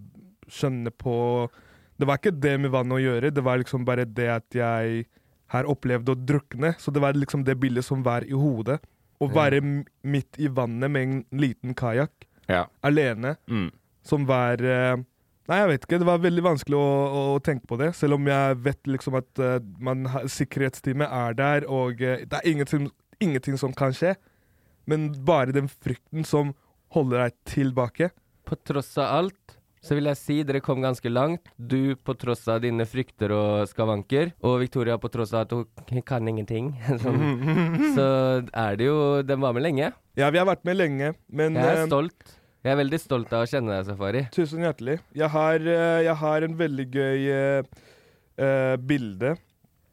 Speaker 5: skjønner på det Det var ikke det med vannet å gjøre, det var liksom bare det at jeg har opplevd å drukne. Så det var liksom det bildet som var i hodet.
Speaker 1: Ja.
Speaker 5: Å være m- midt i vannet med en liten kajakk,
Speaker 1: Ja.
Speaker 5: alene,
Speaker 1: Mm.
Speaker 5: som var eh, Nei, jeg vet ikke. Det var veldig vanskelig å, å, å tenke på det. Selv om jeg vet liksom at eh, man har, sikkerhetsteamet er der, og eh, det er ingenting, ingenting som kan skje. Men bare den frykten som holder deg tilbake.
Speaker 2: På tross av alt så vil jeg si dere kom ganske langt. Du på tross av dine frykter og skavanker, og Victoria på tross av at hun kan ingenting. sånn. Så er det jo Den var med lenge.
Speaker 5: Ja, vi har vært med lenge, men
Speaker 2: Jeg er
Speaker 5: eh,
Speaker 2: stolt. Jeg er veldig stolt av å kjenne deg, Safari.
Speaker 5: Tusen hjertelig. Jeg har, eh, jeg har en veldig gøy eh, eh, bilde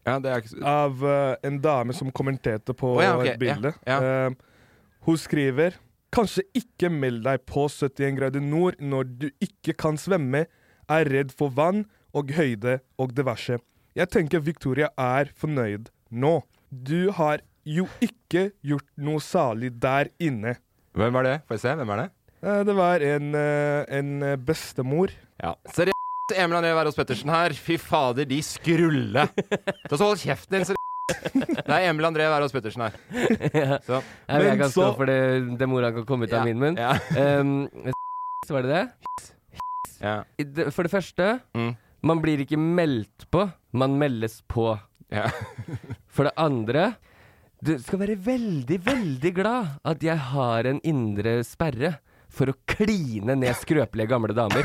Speaker 5: av eh, en dame som kommenterte på
Speaker 1: Å ja, ok,
Speaker 5: et bilde.
Speaker 1: ja, ja.
Speaker 5: Eh, hun skriver Kanskje ikke meld deg på 71 grader nord når du ikke kan svømme, er redd for vann og høyde og diverse. Jeg tenker Victoria er fornøyd nå. Du har jo ikke gjort noe salig der inne.
Speaker 1: Hvem var det? Får jeg se, hvem er det?
Speaker 5: Eh, Det var en, eh, en eh, bestemor.
Speaker 1: Ja. Seriøst, Emil André Wærås Pettersen her. Fy fader, de skrulle. Ta så hold kjeften din, seriøst. Det er Emil André Wærås Pettersen her. Så.
Speaker 2: Jeg, jeg kan stå for det, det mora kan komme ut av
Speaker 1: Ja,
Speaker 2: min munn.
Speaker 1: ja.
Speaker 2: Em, så var det det?
Speaker 1: Ja.
Speaker 2: I det- For det første,
Speaker 1: Mm.
Speaker 2: man blir ikke meldt på, man meldes på. for det andre, du skal være veldig, veldig glad at jeg har en indre sperre for å kline ned skrøpelige gamle damer.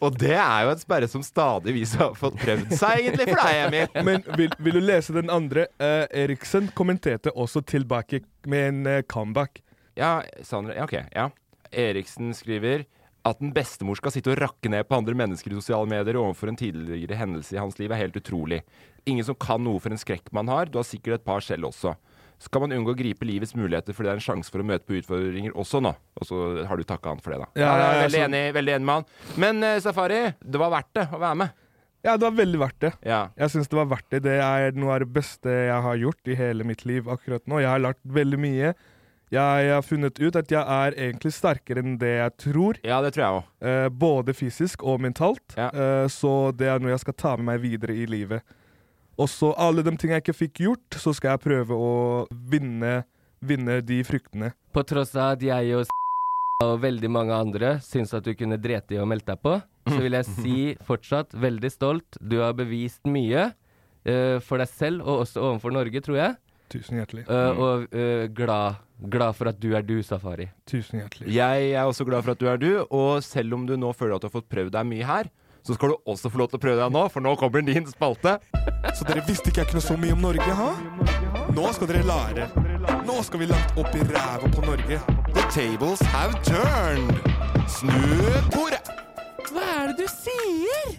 Speaker 1: Og det er jo en sperre som stadig vi har fått prøvd seg, egentlig, for deg, Emil.
Speaker 5: Men vil, vil du lese den andre? Eh, Eriksen kommenterte også tilbake med en eh, comeback.
Speaker 1: Ja, Sandra, ja, ok, ja. Eriksen skriver at en bestemor skal sitte og rakke ned på andre mennesker i sosiale medier overfor en tidligere hendelse i hans liv, er helt utrolig. Ingen som kan noe for en skrekk man har. Du har sikkert et par selv også. Skal man unngå å gripe livets muligheter fordi det er en sjanse for å møte på utfordringer også nå? Og så har du takka han for det, da.
Speaker 5: Ja,
Speaker 1: jeg er
Speaker 5: ja,
Speaker 1: veldig,
Speaker 5: ja, så-
Speaker 1: enig, veldig enig med han. Men eh, Safari, det var verdt det å være med.
Speaker 5: Ja, det var veldig verdt det.
Speaker 1: Ja.
Speaker 5: Jeg syns det var verdt det. Det er noe av det beste jeg har gjort i hele mitt liv akkurat nå. Jeg har lært veldig mye. Jeg, har funnet ut at jeg er egentlig sterkere enn det jeg tror.
Speaker 1: Ja, det tror jeg òg.
Speaker 5: eh, både fysisk og mentalt. Eh, så det er noe jeg skal ta med meg videre i livet. Og så alle de ting jeg ikke fikk gjort, så skal jeg prøve å vinne, vinne de fryktene.
Speaker 2: På tross av at jeg og og veldig mange andre syns at du kunne drete i å melde deg på, så vil jeg si fortsatt veldig stolt. Du har bevist mye eh, for deg selv og også overfor Norge, tror jeg.
Speaker 5: Tusen hjertelig.
Speaker 2: Eh, og eh, glad, glad for at du er du, Safari.
Speaker 5: Tusen hjertelig.
Speaker 1: Jeg er også glad for at du er du, og selv om du nå føler at du har fått prøvd deg mye her, så skal du også få lov til å prøve deg nå, for nå kommer din spalte.
Speaker 9: Så dere visste ikke jeg kunne så mye om Norge, ha? Nå skal dere lære. Nå skal vi langt opp i ræva på Norge. The tables have turned. Snu bordet.
Speaker 10: Hva er det du sier?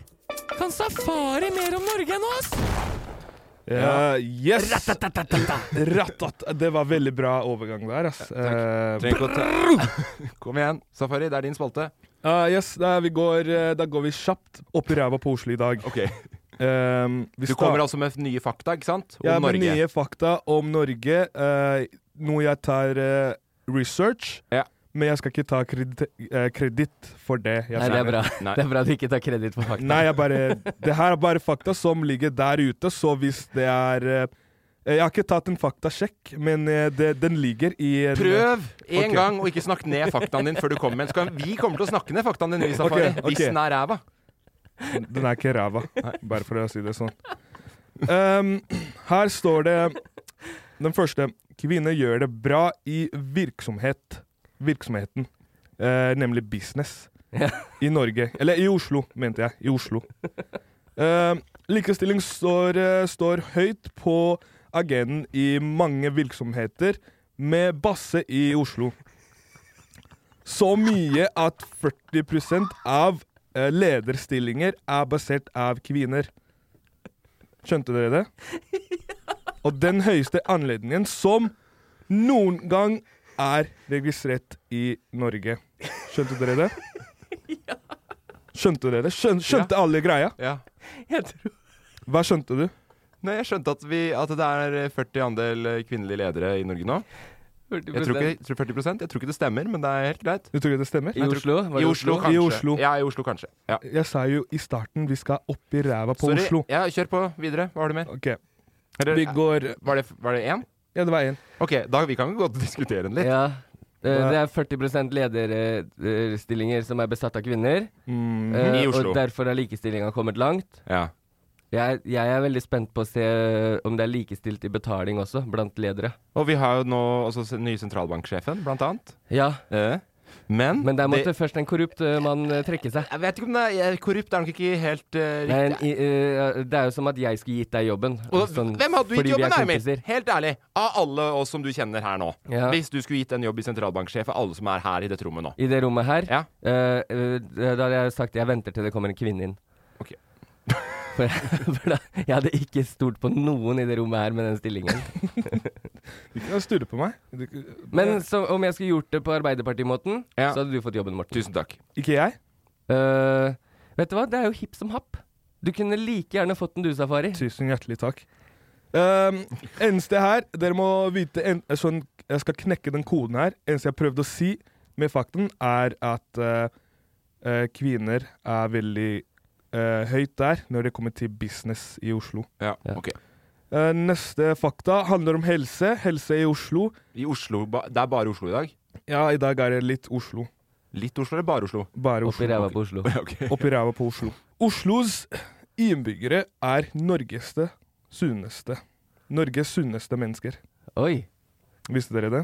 Speaker 10: Kan safari mer om Norge enn oss?
Speaker 5: Ja. Eh, yes! Rattat. Det var veldig bra overgang der, ass. Eh,
Speaker 1: Trenger ikke å ta Kom igjen, Safari, det er din spalte.
Speaker 5: Ah, yes, da, vi går, eh, da går vi kjapt opp i ræva på Oslo i dag.
Speaker 1: Ok.
Speaker 5: Um, vi
Speaker 1: Du
Speaker 5: sta-
Speaker 1: kommer altså med nye fakta, ikke sant? Om
Speaker 5: ja, med
Speaker 1: Norge.
Speaker 5: nye fakta om Norge. eh, noe jeg tar eh, research, men jeg skal ikke ta kreditt kreditt for det. Jeg
Speaker 2: Nei, det
Speaker 5: sier
Speaker 2: er bra.
Speaker 5: Nei.
Speaker 2: Det er bra du ikke tar kreditt for fakta.
Speaker 5: Nei, jeg bare, det her er bare fakta som ligger der ute, så hvis det er eh, Jeg har ikke tatt en faktasjekk, men eh, det, den ligger i eh, en,
Speaker 1: Prøv en
Speaker 5: Ok.
Speaker 1: gang å ikke snakke ned faktaen din før du kommer. Så kan vi kommer til å snakke ned faktaen din, vi, Safari.
Speaker 5: Ok, ok.
Speaker 1: Hvis den er ræva.
Speaker 5: Den er ikke ræva, bare for å si det sånn. Um, her står det Den første. Kvinner gjør det bra i virksomhet. Virksomheten. Eh, nemlig business. I Norge. Eller i Oslo, mente jeg. I Oslo. Eh, likestilling står, eh, står høyt på agendaen i mange virksomheter, med base i Oslo. Så mye at 40 av eh, lederstillinger er basert av kvinner. Skjønte dere det? Og den høyeste anledningen som noen gang er registrert i Norge. Skjønte dere det? Skjønte dere det? Skjøn, skjønte alle greia?
Speaker 1: Ja.
Speaker 2: Jeg tror
Speaker 5: Hva skjønte du?
Speaker 1: eh, Nei, jeg skjønte at, vi, at det er 40 andel kvinnelige ledere i Norge nå. Jeg tror ikke, jeg tror 40 Jeg tror ikke det stemmer, men det er helt greit.
Speaker 5: Du tror ikke det stemmer?
Speaker 1: Jeg tror- I Oslo, kanskje. Ja, i Oslo, kanskje. Ja.
Speaker 5: Jeg sa jo i starten vi skal opp i ræva på
Speaker 1: Sorry.
Speaker 5: Oslo.
Speaker 1: Ja, kjør på videre. Hva har du mer?
Speaker 5: Ok.
Speaker 1: Eller,
Speaker 5: Vi går-
Speaker 1: Var det, var det én?
Speaker 5: Ja, det var én.
Speaker 1: Ok, da vi kan godt diskutere den litt.
Speaker 2: Ja. Eh, Det er 40 lederstillinger eh, som er besatt av kvinner.
Speaker 1: Mm,
Speaker 2: Eh,
Speaker 1: i Oslo.
Speaker 2: Og derfor er likestillinga kommet langt.
Speaker 1: Ja.
Speaker 2: Jeg, jeg er veldig spent på å se eh, om det er likestilt i betaling også, blant ledere.
Speaker 1: Og vi har jo nå også s- nye sentralbanksjefen, blant annet.
Speaker 2: Ja.
Speaker 1: Eh, Men
Speaker 2: Men der måtte
Speaker 1: det-
Speaker 2: først en korrupt eh, mann eh, trekke seg.
Speaker 1: Jeg vet ikke om det er korrupt, er nok ikke helt eh, riktig.
Speaker 2: Men i, eh, det er jo som at jeg skulle gitt deg jobben.
Speaker 1: Og
Speaker 2: sånn,
Speaker 1: hvem hadde du gitt
Speaker 2: fordi vi er
Speaker 1: jobben, Emil?
Speaker 2: kompiser.
Speaker 1: Helt ærlig, av alle oss som du kjenner her nå.
Speaker 2: Ja.
Speaker 1: Hvis du skulle gitt en jobb i sentralbanksjef av alle som er her i dette rommet nå.
Speaker 2: I det rommet her.
Speaker 1: Ja.
Speaker 2: eh, eh, da hadde jeg sagt jeg venter til det kommer en kvinne inn.
Speaker 1: Ok.
Speaker 2: For, for da, jeg hadde ikke stolt på noen i det rommet her med den stillingen.
Speaker 5: Du kan sturre på meg. Du,
Speaker 2: Men så, om jeg skulle gjort det på Arbeiderpartimåten,
Speaker 1: Ja.
Speaker 2: så hadde du fått jobben, Morten.
Speaker 1: Tusen takk.
Speaker 5: ikke jeg?
Speaker 2: Eh, vet du hva, det er jo hipp som happ. Du kunne like gjerne fått en du, Safari.
Speaker 5: Tusen hjertelig takk. Ehm, eneste her Dere må vite en, sånn, Jeg skal knekke den koden her. Eneste jeg prøvde å si med fakten, er at eh, eh, kvinner er veldig eh, høyt der når det kommer til business i Oslo.
Speaker 1: Ja, ok.
Speaker 5: Eh, neste fakta handler om helse. Helse i Oslo.
Speaker 1: I Oslo, ba- Det er bare Oslo i dag?
Speaker 5: Ja, i dag er det litt Oslo.
Speaker 1: Litt Oslo eller bare Oslo?
Speaker 5: Bare Oslo.
Speaker 2: Oppi ræva på Oslo.
Speaker 5: Oppi ræva på Oslo. Oslos innbyggere er Norges sunneste. Norges sunneste mennesker.
Speaker 2: Oi.
Speaker 5: Visste dere det?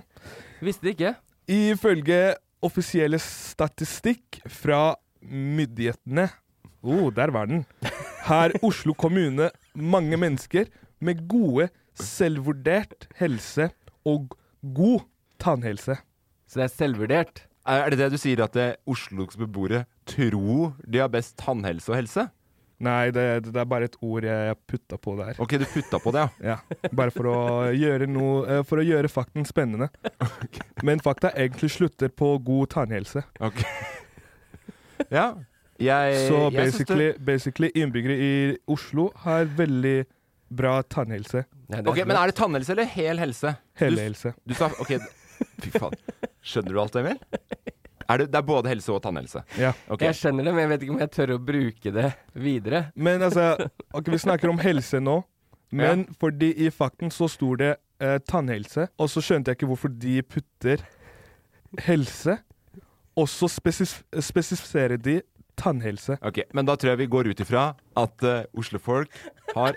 Speaker 2: Visste ikke.
Speaker 5: Ifølge offisielle statistikk fra myndighetene Oh, der var den. Her Oslo kommune mange mennesker med gode, selvvurdert helse og god tannhelse.
Speaker 2: Så det er selvvurdert.
Speaker 1: Er er det det du sier, at eh, Oslos beboere tror de har best tannhelse og helse?
Speaker 5: Nei, det, det er bare et ord jeg putta på der.
Speaker 1: Ok, du putta på det, ja.
Speaker 5: Ja, bare for å gjøre noe eh, For å gjøre fakten spennende. Men fakta egentlig slutter på god tannhelse.
Speaker 1: Ok. Ja. Eh, Jeg,
Speaker 5: Så
Speaker 1: jeg syns det-
Speaker 5: basically, basically innbyggere i Oslo har veldig bra tannhelse.
Speaker 1: Ok, Men er det tannhelse eller hel helse?
Speaker 5: Hele
Speaker 1: du,
Speaker 5: helse.
Speaker 1: Du sa, ok, Fy faen. Skjønner du alt, Emil? Er det, det er både helse og tannhelse?
Speaker 5: Ja.
Speaker 1: Ok.
Speaker 2: Jeg skjønner det, men jeg vet ikke om jeg tør å bruke det videre.
Speaker 5: Men altså Ok, vi snakker om helse nå. Men fordi i fakten så sto det eh, tannhelse, og så skjønte jeg ikke hvorfor de putter helse. Og så spesif spesifiserer de tannhelse.
Speaker 1: Ok, Men da tror jeg vi går ut ifra at eh, oslofolk har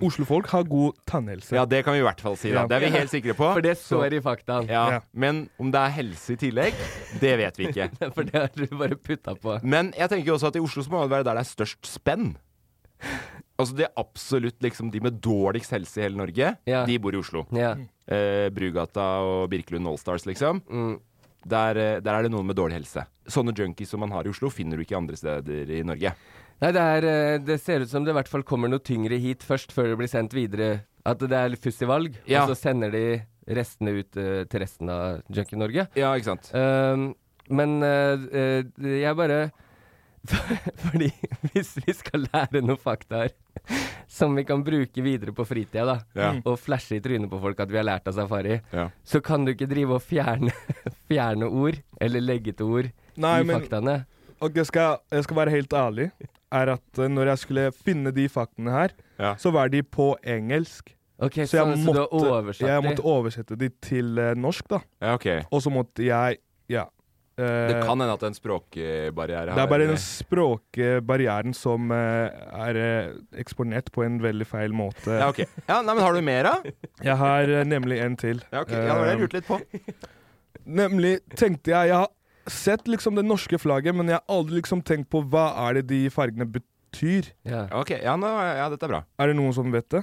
Speaker 5: Oslofolk har god tannhelse.
Speaker 1: Ja, det kan vi i hvert fall si. da
Speaker 5: Ja.
Speaker 1: Det er vi helt sikre på.
Speaker 2: For det
Speaker 1: Så-
Speaker 2: står i faktaen.
Speaker 1: ja.
Speaker 5: Ja.
Speaker 1: Men om det er helse i tillegg, det vet vi ikke.
Speaker 2: For det har du bare putta på.
Speaker 1: Men jeg tenker også at i Oslo så må det være der det er størst spenn. Altså det er absolutt liksom de med dårligst helse i hele Norge,
Speaker 2: Ja.
Speaker 1: de bor i Oslo.
Speaker 2: Ja.
Speaker 1: Eh, Brugata og Birkelund Allstars, liksom. Der, eh, der er det noen med dårlig helse. Sånne junkies som man har i Oslo, finner du ikke andre steder i Norge.
Speaker 2: Nei, det, er, eh, det ser ut som det i hvert fall kommer noe tyngre hit først, før det blir sendt videre. At det er fuss i valg,
Speaker 1: Ja.
Speaker 2: og så sender de restene ut eh, til resten av Junkie-Norge.
Speaker 1: Ja, ikke sant?
Speaker 2: Um, men eh, eh, jeg bare Fordi hvis vi skal lære noen fakta her som vi kan bruke videre på fritida, da,
Speaker 1: Ja.
Speaker 2: og flashe i trynet på folk at vi har lært av safari,
Speaker 1: Ja.
Speaker 2: så kan du ikke drive og fjerne, fjerne ord, eller legge til ord,
Speaker 5: Nei,
Speaker 2: i
Speaker 5: men-
Speaker 2: faktaene.
Speaker 5: Og jeg skal, jeg skal være helt ærlig, er at eh, når jeg skulle finne de faktene her,
Speaker 1: Ja.
Speaker 5: så var de på engelsk.
Speaker 2: Ok,
Speaker 5: Så jeg,
Speaker 2: sånn, så du
Speaker 5: måtte,
Speaker 2: har oversatt
Speaker 5: jeg
Speaker 2: de?
Speaker 5: måtte oversette de til eh, norsk, da.
Speaker 1: Ja, ok.
Speaker 5: Og så måtte jeg Ja. Eh,
Speaker 1: Det kan hende at det er en språkbarriere
Speaker 5: det er bare den språkbarrieren som eh, er eh, eksponert på en veldig feil måte.
Speaker 1: Ja, ok. Ja, nei, men har du mer, da?
Speaker 5: Jeg har eh, nemlig en til.
Speaker 1: Ja, ok. ja, det har jeg
Speaker 5: Eh,
Speaker 1: lurt litt på.
Speaker 5: Nemlig tenkte jeg Jeg har sett liksom det norske flagget, men jeg har aldri liksom tenkt på hva er det de fargene betyr.
Speaker 2: Ja.
Speaker 1: Ok, ja, nå, ja dette er bra.
Speaker 5: Er det noen som vet det?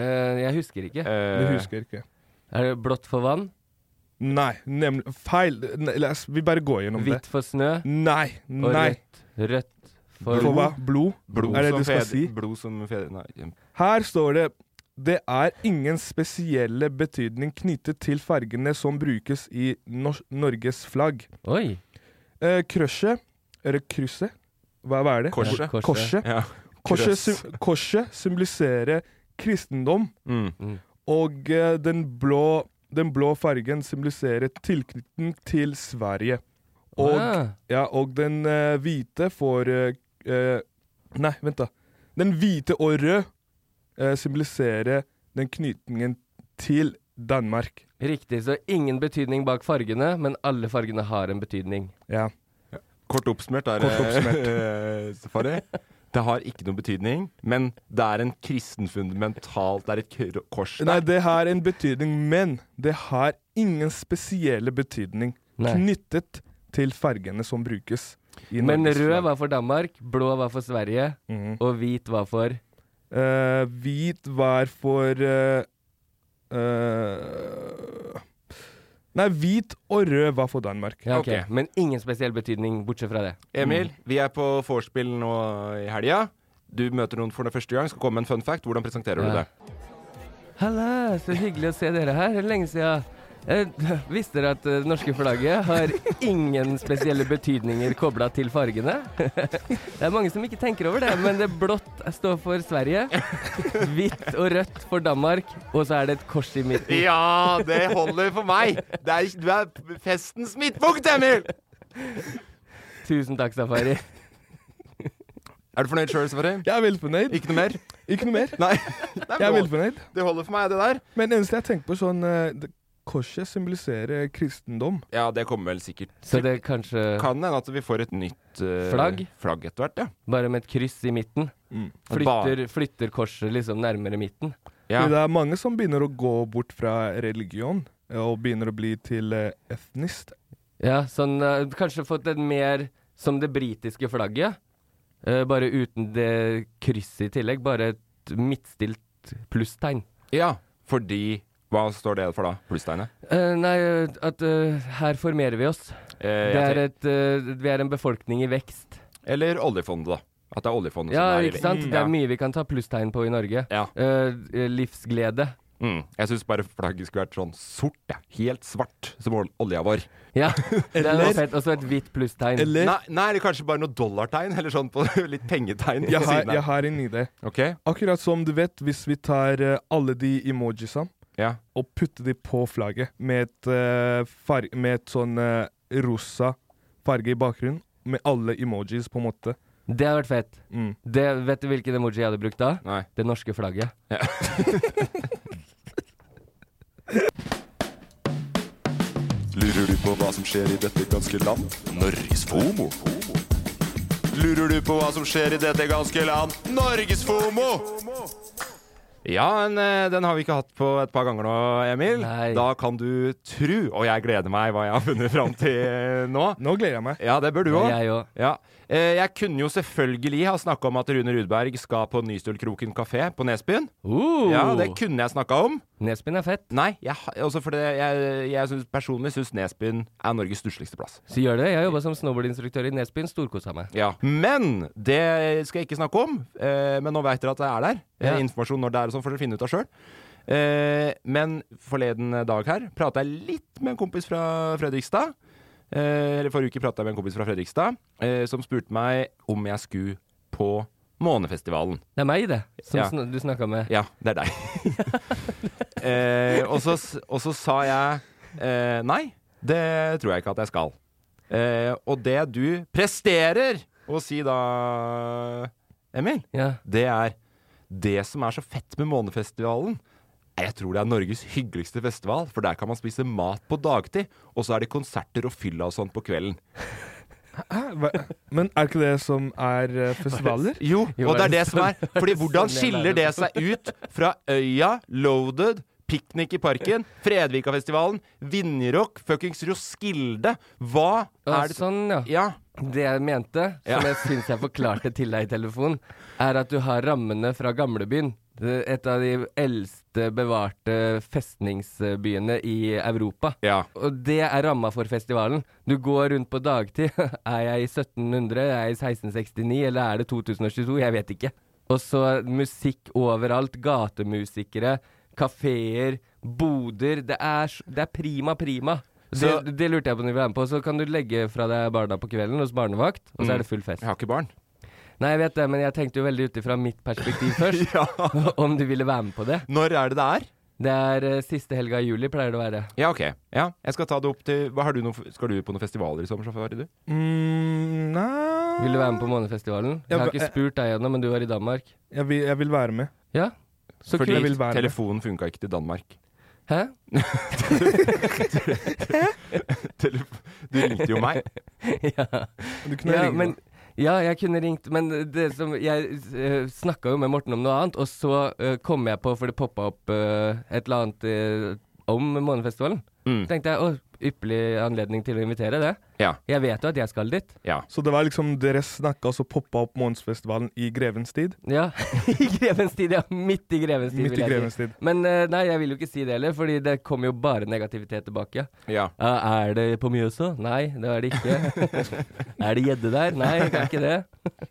Speaker 2: Eh, jeg husker ikke.
Speaker 5: Du
Speaker 1: Eh,
Speaker 5: husker ikke.
Speaker 2: Er det blått for vann?
Speaker 5: Nei, nemlig Feil. Ne, la oss- vi bare går gjennom
Speaker 2: Hvitt
Speaker 5: det.
Speaker 2: for snø?
Speaker 5: Nei.
Speaker 2: Og
Speaker 5: Nei.
Speaker 2: rødt, rødt for
Speaker 5: For hva? Blod?
Speaker 1: blod,
Speaker 5: er det
Speaker 1: som
Speaker 5: du skal
Speaker 1: fedre-
Speaker 5: si?
Speaker 1: blod som fedre Nei.
Speaker 5: Her står det det er ingen spesielle betydning knyttet til fargene som brukes i nors Norges flagg.
Speaker 2: Oi!
Speaker 5: Eh, krysset Eller krysset? Hva, hva er det?
Speaker 1: Korset.
Speaker 2: Korset.
Speaker 5: Korset.
Speaker 1: Ja.
Speaker 5: Korset,
Speaker 1: Krøss.
Speaker 5: sym- korset symboliserer kristendom,
Speaker 1: Mm.
Speaker 5: og eh, den blå Den blå fargen symboliserer tilknytning til Sverige. Og,
Speaker 2: Ah.
Speaker 5: ja, og den eh, hvite får eh, eh, Nei, vent, da. Den hvite og rød eh, symboliserer den knytningen til Danmark.
Speaker 2: Riktig, så ingen betydning bak fargene, men alle fargene har en betydning.
Speaker 5: Ja.
Speaker 1: Kort oppsummert er
Speaker 2: Kort oppsummert.
Speaker 1: eh, safari. Det har ikke noen betydning, men det er en kristenfundamentalt Det er et kr- kors der.
Speaker 5: Nei, det har en betydning, men det har ingen spesielle betydning
Speaker 2: Nei.
Speaker 5: knyttet til fargene som brukes. i
Speaker 2: Men
Speaker 5: Norges
Speaker 2: rød
Speaker 5: flagg. Mhm.
Speaker 2: var for Danmark, blå var for Sverige, og hvit var for
Speaker 5: Eh, hvit var for eh, eh, Nei, hvit og rød var for Danmark.
Speaker 2: Ja, ok. Men ingen spesiell betydning, bortsett fra det.
Speaker 1: Emil,
Speaker 2: Mm.
Speaker 1: vi er på vorspiel nå i helga. Du møter noen for den første gang. Skal komme med en fun fact. Hvordan presenterer du
Speaker 2: Ja.
Speaker 1: det?
Speaker 2: Halla, så hyggelig å se dere her. Det er Lenge siden. Eh, visste dere at eh, det norske flagget har ingen spesielle betydninger kobla til fargene? det er mange som ikke tenker over det, men det blått står for Sverige, hvitt og rødt for Danmark, og så er det et kors i midten.
Speaker 1: Ja, det holder for meg! Det er, du er festens midtpunkt, Emil!
Speaker 2: Tusen takk, Safari.
Speaker 1: Er du fornøyd sjøl, Safari?
Speaker 5: Jeg er velfornøyd.
Speaker 1: Ikke noe mer?
Speaker 5: Ikke noe mer.
Speaker 1: Nei.
Speaker 5: Jeg er velfornøyd.
Speaker 1: Det holder for meg, det der.
Speaker 5: Men det eneste jeg tenker på, sånn eh, det- Korset symboliserer kristendom.
Speaker 1: Ja, det kommer vel sikkert.
Speaker 2: Så det er kanskje
Speaker 1: Kan hende at vi får et nytt eh,
Speaker 2: Flagg?
Speaker 1: flagg etter hvert, ja.
Speaker 2: bare med et kryss i midten.
Speaker 1: Mm.
Speaker 2: Flytter, flytter korset liksom nærmere midten.
Speaker 5: Fordi Det er mange som begynner å gå bort fra religion eh, og begynner å bli til eh, etnist.
Speaker 2: Ja, sånn eh, Kanskje fått et mer som det britiske flagget. eh, bare uten det krysset i tillegg. Bare et midtstilt plusstegn.
Speaker 1: Ja, fordi Hva står det for da? Plusstegnet?
Speaker 2: Eh, nei, eh, at eh, her formerer vi oss. det
Speaker 1: jeg
Speaker 2: er et, eh, vi er en befolkning i vekst.
Speaker 1: Eller oljefondet, da. At det er oljefondet
Speaker 2: Ja,
Speaker 1: som er i
Speaker 2: ikke sant?
Speaker 1: vekst.
Speaker 2: Det
Speaker 1: Ja.
Speaker 2: er mye vi kan ta plusstegn på i Norge. Eh, eh, livsglede.
Speaker 1: Mm. Jeg syns bare flagget skulle vært sånn sort, ja. helt svart, som ol- olja vår.
Speaker 2: Ja, det er
Speaker 1: Eller-
Speaker 2: noe fett. Og så et hvitt plusstegn.
Speaker 1: Nei, nei, eller kanskje bare noe dollartegn, eller sånn på litt pengetegn.
Speaker 5: Jeg har, jeg har en idé.
Speaker 1: Ok.
Speaker 5: Akkurat som du vet, hvis vi tar eh, alle de emojisene
Speaker 1: Ja.
Speaker 5: og putter de på flagget med et, eh, far med et sånn eh, rosa farge i bakgrunnen, med alle emojis på en måte.
Speaker 2: Det hadde vært fett.
Speaker 5: Mm.
Speaker 2: Det, vet du hvilken emoji jeg hadde brukt da?
Speaker 1: Nei.
Speaker 2: Det norske flagget.
Speaker 9: Lurer du på hva som skjer i dette ganske land? Norges FOMO. Lurer du på hva som skjer i dette ganske land? Norges FOMO!
Speaker 1: Ja, men eh, den har vi ikke hatt på et par ganger nå, Emil. Da kan du tru, og jeg gleder meg hva jeg har funnet fram til eh, nå.
Speaker 5: Nå gleder jeg meg.
Speaker 1: Ja, det bør du
Speaker 2: Ja,
Speaker 1: òg.
Speaker 2: jeg òg.
Speaker 1: Ja. Eh, Jeg kunne jo selvfølgelig ha snakka om at Rune Rudberg skal på Nystølkroken kafé på Nesbyen.
Speaker 2: Uh.
Speaker 1: Ja, det kunne jeg snakka om.
Speaker 2: Nesbyen er fett.
Speaker 1: Oh. Nei, jeg, ha- også fordi jeg, jeg synes, personlig syns Nesbyen er Norges stussligste plass.
Speaker 2: Så gjør det. Jeg jobba som snowboardinstruktør i Nesbyen. Storkosa meg.
Speaker 1: Ja. Men det skal jeg ikke snakke om. Eh, men nå veit dere at det er der.
Speaker 2: Ja.
Speaker 1: Eh, informasjon når det er og sånn, får dere finne ut av sjøl. Eh, men forleden dag her prata jeg litt med en kompis fra Fredrikstad. Eh, eller forrige uke prata jeg med en kompis fra Fredrikstad eh, som spurte meg om jeg skulle på Månefestivalen.
Speaker 2: Det er meg, det, som
Speaker 1: Ja.
Speaker 2: sn du snakka med.
Speaker 1: Ja, det er deg. eh, og, så, s- og så sa jeg eh, nei, det tror jeg ikke at jeg skal. Eh, og det du presterer å si da, Emil,
Speaker 2: Ja.
Speaker 1: det er det som er så fett med Månefestivalen. Jeg tror det er Norges hyggeligste festival, for der kan man spise mat på dagtid, og så er det konserter og fylla og sånn på kvelden.
Speaker 5: Hæ? Hva- Men er ikke det som er eh, festivaler?
Speaker 1: Jo,
Speaker 2: Jo,
Speaker 1: og det
Speaker 2: er
Speaker 1: er det
Speaker 2: det
Speaker 1: som er
Speaker 2: sånn- er
Speaker 1: Fordi
Speaker 2: det
Speaker 1: hvordan
Speaker 2: sånn jeg
Speaker 1: skiller
Speaker 2: lærer
Speaker 1: det seg ut fra Øya, Loaded, Piknik i parken, Fredvikafestivalen, Vinjerock, fuckings Roskilde? Hva
Speaker 2: Ja,
Speaker 1: er det som
Speaker 2: Sånn, ja.
Speaker 1: Ja.
Speaker 2: Det jeg mente, som
Speaker 1: Ja.
Speaker 2: jeg syns jeg forklarte til deg i telefon, er at du har rammene fra gamlebyen. Det er Et av de eldste bevarte festningsbyene i Europa.
Speaker 1: Ja.
Speaker 2: Og det er ramma for festivalen. Du går rundt på dagtid. Er jeg i 1700, er jeg i 1669, eller er det 2022? Jeg vet ikke. Og så musikk overalt. Gatemusikere, kafeer, boder. Det er, s- det er prima, prima.
Speaker 1: Så-
Speaker 2: det, det lurte jeg på når vi var med på. Så kan du legge fra deg barna på kvelden hos barnevakt, og
Speaker 1: Mm.
Speaker 2: så er det full fest.
Speaker 1: Jeg har ikke barn.
Speaker 2: Nei, jeg vet det, men jeg tenkte jo veldig ut ifra mitt perspektiv først.
Speaker 1: Ja.
Speaker 2: Om du ville være med på det.
Speaker 1: Når er det det er?
Speaker 2: Det er eh, siste helga i juli pleier det å være.
Speaker 1: Ja, ok. Ja, jeg skal ta det opp til hva, har du noe, Skal du på noen festivaler i sommer, Safari? Du?
Speaker 5: Mm, nei
Speaker 2: Vil du være med på Månefestivalen? Jeg
Speaker 5: Jeg
Speaker 2: har
Speaker 5: vil-
Speaker 2: ikke spurt deg ennå, men du var i Danmark.
Speaker 5: Jeg vil, jeg vil være med.
Speaker 2: Ja, så
Speaker 1: Fordi
Speaker 2: kult. Jeg vil være med.
Speaker 1: telefonen funka ikke til Danmark.
Speaker 2: Hæ?
Speaker 1: Telef- du ringte jo meg.
Speaker 2: ja.
Speaker 1: Du kunne
Speaker 2: ja,
Speaker 1: ringe
Speaker 2: men, ja, jeg kunne ringt, men det som Jeg uh, snakka jo med Morten om noe annet, og så eh, kom jeg på, for det poppa opp eh, et eller annet eh, om Månefestivalen.
Speaker 1: Mm.
Speaker 2: tenkte jeg å, ypperlig anledning til å invitere det.
Speaker 1: Ja.
Speaker 2: Jeg vet jo at jeg skal dit.
Speaker 5: Så det var liksom dere snakka, og så poppa opp Månedsfestivalen i grevens tid?
Speaker 2: Ja, i grevens tid, ja. Midt i grevens tid.
Speaker 5: Midt
Speaker 2: vil
Speaker 5: i
Speaker 2: jeg
Speaker 5: grevens
Speaker 2: si.
Speaker 5: tid.
Speaker 2: Men eh, nei, jeg vil jo ikke si det heller, fordi det kommer jo bare negativitet tilbake.
Speaker 1: Ja.
Speaker 2: er det på Mjøsa? Nei, det er det ikke. er det gjedde der? Nei, det er ikke det.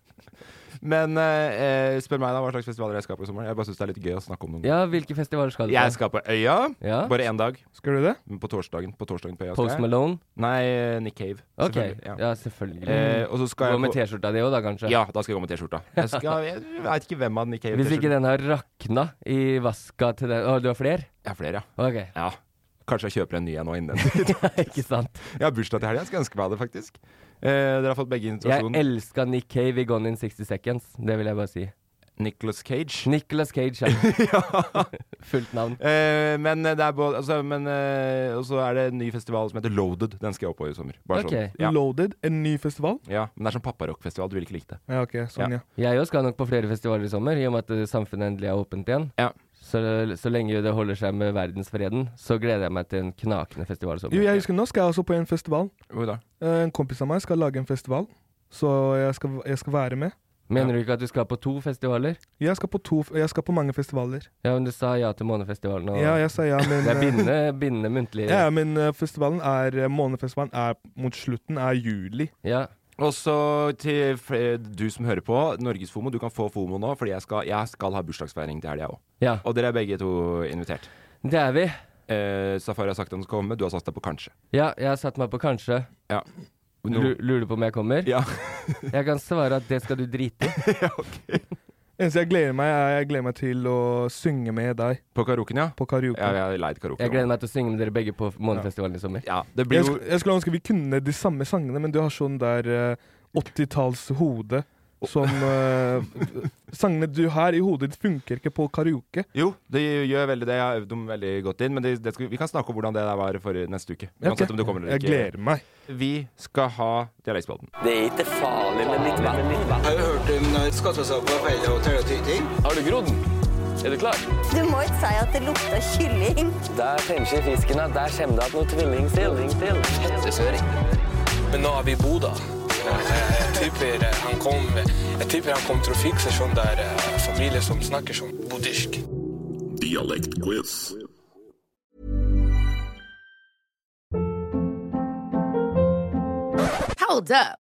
Speaker 1: Men eh, eh, spør meg da hva slags festivaler jeg skal på i sommer. Jeg bare syns det er litt gøy å snakke om noen.
Speaker 2: Ja, hvilke festivaler skal du på?
Speaker 1: Jeg skal på Øya.
Speaker 2: Ja.
Speaker 1: Bare én dag.
Speaker 5: Skal du det?
Speaker 1: På torsdagen. På torsdagen på Øya skal
Speaker 2: Post
Speaker 1: jeg.
Speaker 2: Malone?
Speaker 1: Nei, eh, Nick Cave.
Speaker 2: Ok,
Speaker 1: Selvfølgelig,
Speaker 2: ja, selvfølgelig. Mm.
Speaker 1: Eh, og så skal
Speaker 2: Gå
Speaker 1: jeg
Speaker 2: med
Speaker 1: på-
Speaker 2: T-skjorta di òg, da, kanskje?
Speaker 1: Ja, da skal jeg gå med T-skjorta. Jeg, skal- jeg veit ikke hvem av Nick Cave
Speaker 2: Hvis ikke den har rakna i vaska til den Å, du har flere?
Speaker 1: Jeg har flere, ja.
Speaker 2: Ok.
Speaker 1: ja. Kanskje jeg kjøper en ny en nå innen den tid.
Speaker 2: ikke sant.
Speaker 1: Jeg har bursdag til helga, jeg skal ønske meg det, faktisk. Eh, dere har fått begge
Speaker 2: Jeg
Speaker 1: invitasjonen.
Speaker 2: elska Nick Cave i Gone in 60 Seconds. Det vil jeg bare si.
Speaker 1: Nicholas Cage.
Speaker 2: Nicholas Cage, ja. Fullt navn.
Speaker 1: Eh, men det er både altså, men, eh, Og så er det en ny festival som heter Loaded. Den skal jeg opp på i sommer. Bare
Speaker 2: Ok.
Speaker 1: sånn. Ja.
Speaker 5: Loaded, en ny festival?
Speaker 1: ja, Men det er sånn papparockfestival. Du vil ikke like det.
Speaker 5: Ja, ok, sånn, ja.
Speaker 2: Jeg òg skal nok på flere festivaler i sommer, i og med at eh, samfunnet endelig er åpent igjen. Så, så lenge det holder seg med verdensfreden, så gleder jeg meg til en knakende
Speaker 5: Jo,
Speaker 2: festivalsommer.
Speaker 5: jeg husker nå skal jeg også på en festival.
Speaker 1: Hvor da?
Speaker 5: Eh, En kompis av meg skal lage en festival, så jeg skal, jeg skal være med.
Speaker 2: Mener du ikke at du skal på to festivaler?
Speaker 5: Jeg skal på, to, f- jeg skal på mange festivaler.
Speaker 2: Ja, men du sa ja til Månefestivalen. Og
Speaker 5: Ja, jeg sa ja, men,
Speaker 2: Ah. Det er
Speaker 5: eh,
Speaker 2: bindende, bindende muntlig.
Speaker 5: Ja, men eh, festivalen er, eh, månedfestivalen er mot slutten, er juli.
Speaker 2: Ja.
Speaker 1: Og så til fl- du som hører på, Norges FOMO. Du kan få FOMO nå, fordi jeg skal, jeg skal ha bursdagsfeiring til helga òg.
Speaker 2: Ja.
Speaker 1: Og dere er begge to invitert.
Speaker 2: Det er vi.
Speaker 1: Eh, Safari har sagt at han skal komme, du har sagt deg på kanskje.
Speaker 2: Ja, jeg har satt meg på kanskje.
Speaker 1: Ja. Nå-
Speaker 2: Lu- Lurer du på om jeg kommer?
Speaker 1: Ja.
Speaker 2: jeg kan svare at det skal du drite i.
Speaker 5: Eneste jeg gleder meg, er jeg gleder meg til å synge med deg.
Speaker 1: På karaoken, ja?
Speaker 5: På karaoken.
Speaker 1: Ja, jeg er leid karaoke.
Speaker 2: Jeg gleder meg til å synge med dere begge på Månefestivalen i sommer.
Speaker 1: Ja, det
Speaker 5: Jeg, sk jeg skulle ønske vi kunne de samme sangene, men du har sånn der eh, 80-talls hode som eh, Sangene du har i hodet ditt, funker ikke på karaoke.
Speaker 1: Jo, det gjør veldig det. Jeg har øvd dem veldig godt inn. Men det, det skal, vi kan snakke om hvordan det der var forrige neste uke.
Speaker 5: Ja,
Speaker 1: Uansett
Speaker 5: ok.
Speaker 1: om du kommer eller
Speaker 5: Jeg
Speaker 1: ikke.
Speaker 5: gleder meg.
Speaker 1: Vi skal ha Dialektspalten.
Speaker 11: Det er ikke farlig, men litt vann. Har du hørt om skattesaker på Hella og Tøyting? Har du grodd? Er du klar?
Speaker 12: Du må ikke si at det lukter kylling.
Speaker 11: Der fremskjer fisken at der kommer det at noe tvilling til. Hettesøring. Men nå er vi i Boda. Jeg tipper han kommer kom til å fikse sånn der familie som snakker sånn bodisk. Dialektquiz.
Speaker 6: Hold up.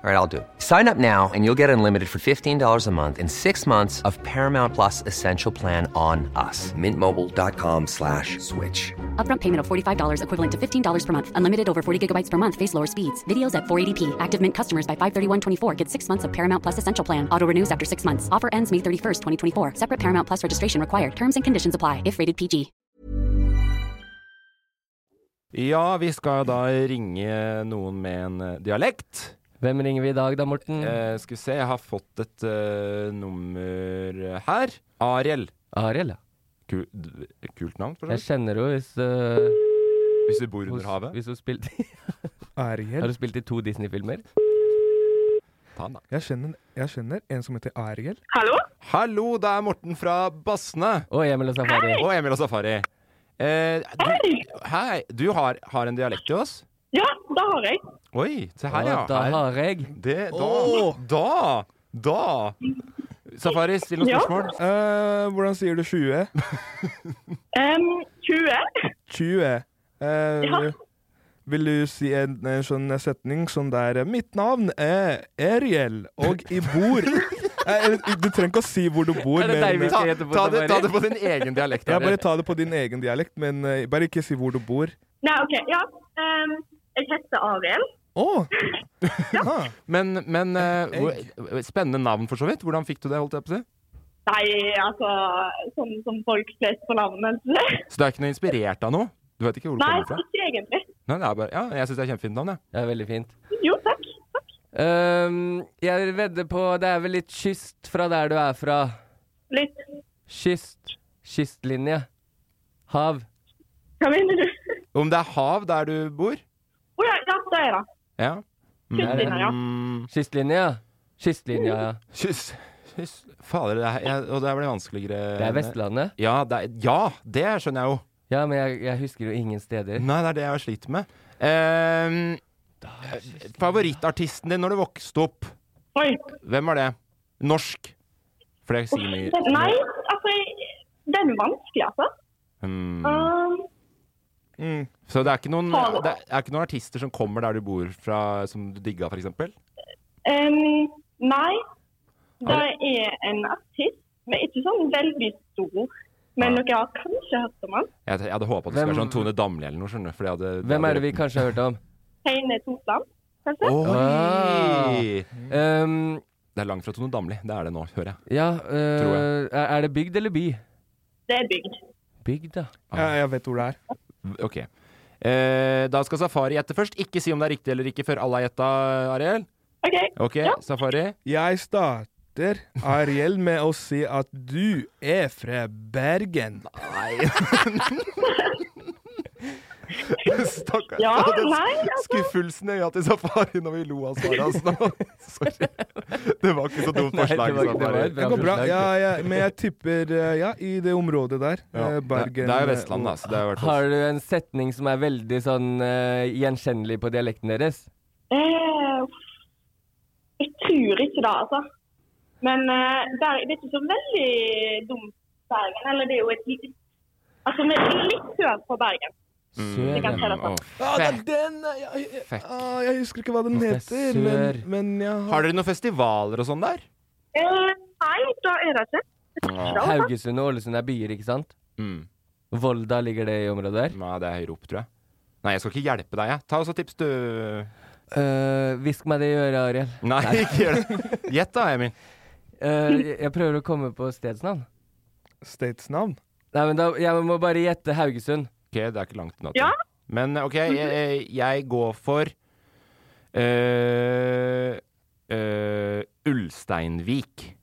Speaker 13: All right, I'll do it. Sign up now and you'll get unlimited for $15 a month and six months of Paramount Plus Essential Plan on us. Mintmobile.com slash switch.
Speaker 14: Upfront payment of $45 equivalent to $15 per month. Unlimited over 40 gigabytes per month. Face lower speeds. Videos at 480p. Active Mint customers by 531.24 get six months of Paramount Plus Essential Plan. Auto renews after six months. Offer ends May 31st, 2024. Separate Paramount Plus registration required. Terms and conditions apply if rated PG.
Speaker 1: Ja, vi skal da ringe noen med en eh, dialekt.
Speaker 2: Hvem ringer vi i dag da, Morten?
Speaker 1: Eh, skal vi se, jeg har fått et eh, nummer her. Ariel.
Speaker 2: Ariel, ja.
Speaker 1: Ku- d- kult navn, for så
Speaker 2: Jeg
Speaker 1: vidt.
Speaker 2: kjenner henne hvis øh,
Speaker 1: Hvis du bor under
Speaker 2: hos-
Speaker 1: havet.
Speaker 2: Hvis hun spilte
Speaker 5: Ariel?
Speaker 2: Har hun spilt i to Disney-filmer?
Speaker 5: Jeg kjenner, jeg kjenner en som heter Ariel.
Speaker 1: Hallo? Hallo, det er Morten fra Bassene.
Speaker 2: Og Emil og Safari.
Speaker 1: Og Emil og Safari. Eh, du, hei! Du har, har en dialekt til oss?
Speaker 15: Ja, det har jeg.
Speaker 1: Oi, se her,
Speaker 2: Å,
Speaker 1: ja.
Speaker 2: da
Speaker 1: Her.
Speaker 2: har jeg.
Speaker 1: Det, da,
Speaker 2: Å.
Speaker 1: da, da. Safari, still noen spørsmål.
Speaker 5: Eh, hvordan sier du 20?
Speaker 15: Em, 20.
Speaker 5: 20. Eh,
Speaker 15: Ja.
Speaker 5: Vil du si en, en sånn setning som der Mitt navn er Ariel, og jeg bor Eh, eller, Du trenger ikke å si hvor du bor.
Speaker 1: Er det deg vi
Speaker 5: men-
Speaker 1: ikke heter på Ta- ta det- ta det på din e- egen dialekt,
Speaker 5: Ja,
Speaker 1: Ariel.
Speaker 5: bare ta det på din egen dialekt, men eh, bare ikke si hvor du bor.
Speaker 15: Nei, OK. Ja. Em, jeg heter Ariel.
Speaker 5: Å!
Speaker 1: Men, men eh, hvor- spennende navn, for så vidt. Hvordan fikk du det? holdt jeg på å si?
Speaker 15: Nei, altså sånn som folk flest på navnet.
Speaker 1: Så du er ikke noe inspirert av noe? Du vet ikke hvor det
Speaker 15: Nei,
Speaker 1: kommer fra?
Speaker 15: ikke egentlig.
Speaker 1: Nei, det er bare, ja, jeg syns det er kjempefint navn, jeg.
Speaker 2: Det er veldig fint.
Speaker 15: Jo, takk.
Speaker 2: Øhm, jeg vedder på Det er vel litt kyst fra der du er fra?
Speaker 15: Litt.
Speaker 2: Kyst. Kystlinje. Hav.
Speaker 15: Hva mener du?
Speaker 1: Om det er hav der du bor?
Speaker 15: Å ja, ja, det er det.
Speaker 1: Ja.
Speaker 2: Ehm.
Speaker 15: Kystlinja, ja.
Speaker 2: Kystlinje, ja. Kystlinja, ja.
Speaker 1: Kyss. Kyss. Fader, det er, jeg, og det blir vanskeligere.
Speaker 2: Det er Vestlandet?
Speaker 1: Ja, det, er, ja, det skjønner jeg jo.
Speaker 2: Ja, men jeg, jeg husker jo ingen steder.
Speaker 1: Nei, det er det jeg har slitt med. Ehm, favorittartisten din når du vokste opp,
Speaker 15: Oi.
Speaker 1: hvem var det? Norsk. For det sier mye.
Speaker 15: Nei, altså jeg, Den er vanskelig, altså.
Speaker 1: Mm.
Speaker 15: Um,
Speaker 1: Så det er, ikke noen, det er ikke noen artister som kommer der du bor fra, som du digga, for eksempel?
Speaker 15: em, nei, det
Speaker 1: Har
Speaker 15: er en artist, men ikke sånn veldig stor. Men
Speaker 1: Nei.
Speaker 15: dere har kanskje hørt om han.
Speaker 1: Jeg, jeg hadde håpa det skulle
Speaker 2: Hvem-
Speaker 1: være sånn Tone Damli eller noe, skjønner du. For det hadde,
Speaker 2: Hvem er det vi kanskje har hørt om?
Speaker 15: Heine Totland, kanskje?
Speaker 1: Oi!
Speaker 2: Ehm,
Speaker 1: det er langt fra Tone Damli. Det er det nå, hører jeg.
Speaker 2: ja, øh,
Speaker 1: Tror
Speaker 2: er er det bygd eller by?
Speaker 15: Det er bygd.
Speaker 2: Bygd, ja.
Speaker 5: Ja, jeg vet hvor det er.
Speaker 1: OK. Eh, da skal Safari gjette først. Ikke si om det er riktig eller ikke før alle har gjetta, Ariel.
Speaker 15: OK.
Speaker 1: OK, Safari.
Speaker 5: Jeg starter Ariel med å si at du er fra Bergen.
Speaker 1: Stakkars.
Speaker 15: Ja,
Speaker 1: Jeg hadde
Speaker 15: nei, altså.
Speaker 1: Skuffelsen i øya til Safari når vi lo av svaret hans nå. Sorry. Det var ikke så dumt
Speaker 2: Nei, det
Speaker 1: forslag.
Speaker 2: var- det var
Speaker 1: Safari.
Speaker 2: et
Speaker 5: Det går bra. Ja, ja, men jeg tipper eh, ja, i det området der.
Speaker 1: Ja,
Speaker 5: eh,
Speaker 1: det-
Speaker 5: Bergen.
Speaker 1: det er jo
Speaker 5: eh,
Speaker 1: Vestlandet, altså. Det er i hvert fall
Speaker 2: Har du en setning som er veldig sånn øh, gjenkjennelig på dialekten deres?
Speaker 15: Eh, jeg tror ikke det, altså. Men eh, der, det er ikke så veldig dumt Bergen. Eller det er jo et lite Altså, vi er litt sør på Bergen. Det kan jeg
Speaker 1: Mm.
Speaker 15: si.
Speaker 5: Ja, det er den! eh, Jeg, jeg, ah, jeg husker ikke hva den heter, men, men jeg
Speaker 1: Har dere noen festivaler og sånn der?
Speaker 15: Eh, nei, da er det ikke.
Speaker 2: Haugesund og Ålesund er byer, ikke sant? Volda ligger det i området der?
Speaker 1: Nei, det er høyere opp, tror jeg. Nei, jeg skal ikke hjelpe deg, jeg. Ta også tips, du.
Speaker 2: Øh, hvisk meg det i øret, Ariel.
Speaker 1: Nei, ikke gjør det. Gjett da, Emil.
Speaker 2: Øh, jeg, jeg prøver å komme på stedsnavn.
Speaker 5: Statsnavn?
Speaker 2: Nei, men da, jeg må bare gjette Haugesund.
Speaker 1: OK, det er ikke langt unna. tror
Speaker 2: Ja.
Speaker 1: jeg. Men OK, jeg, jeg går for eh, eh, Ulsteinvik.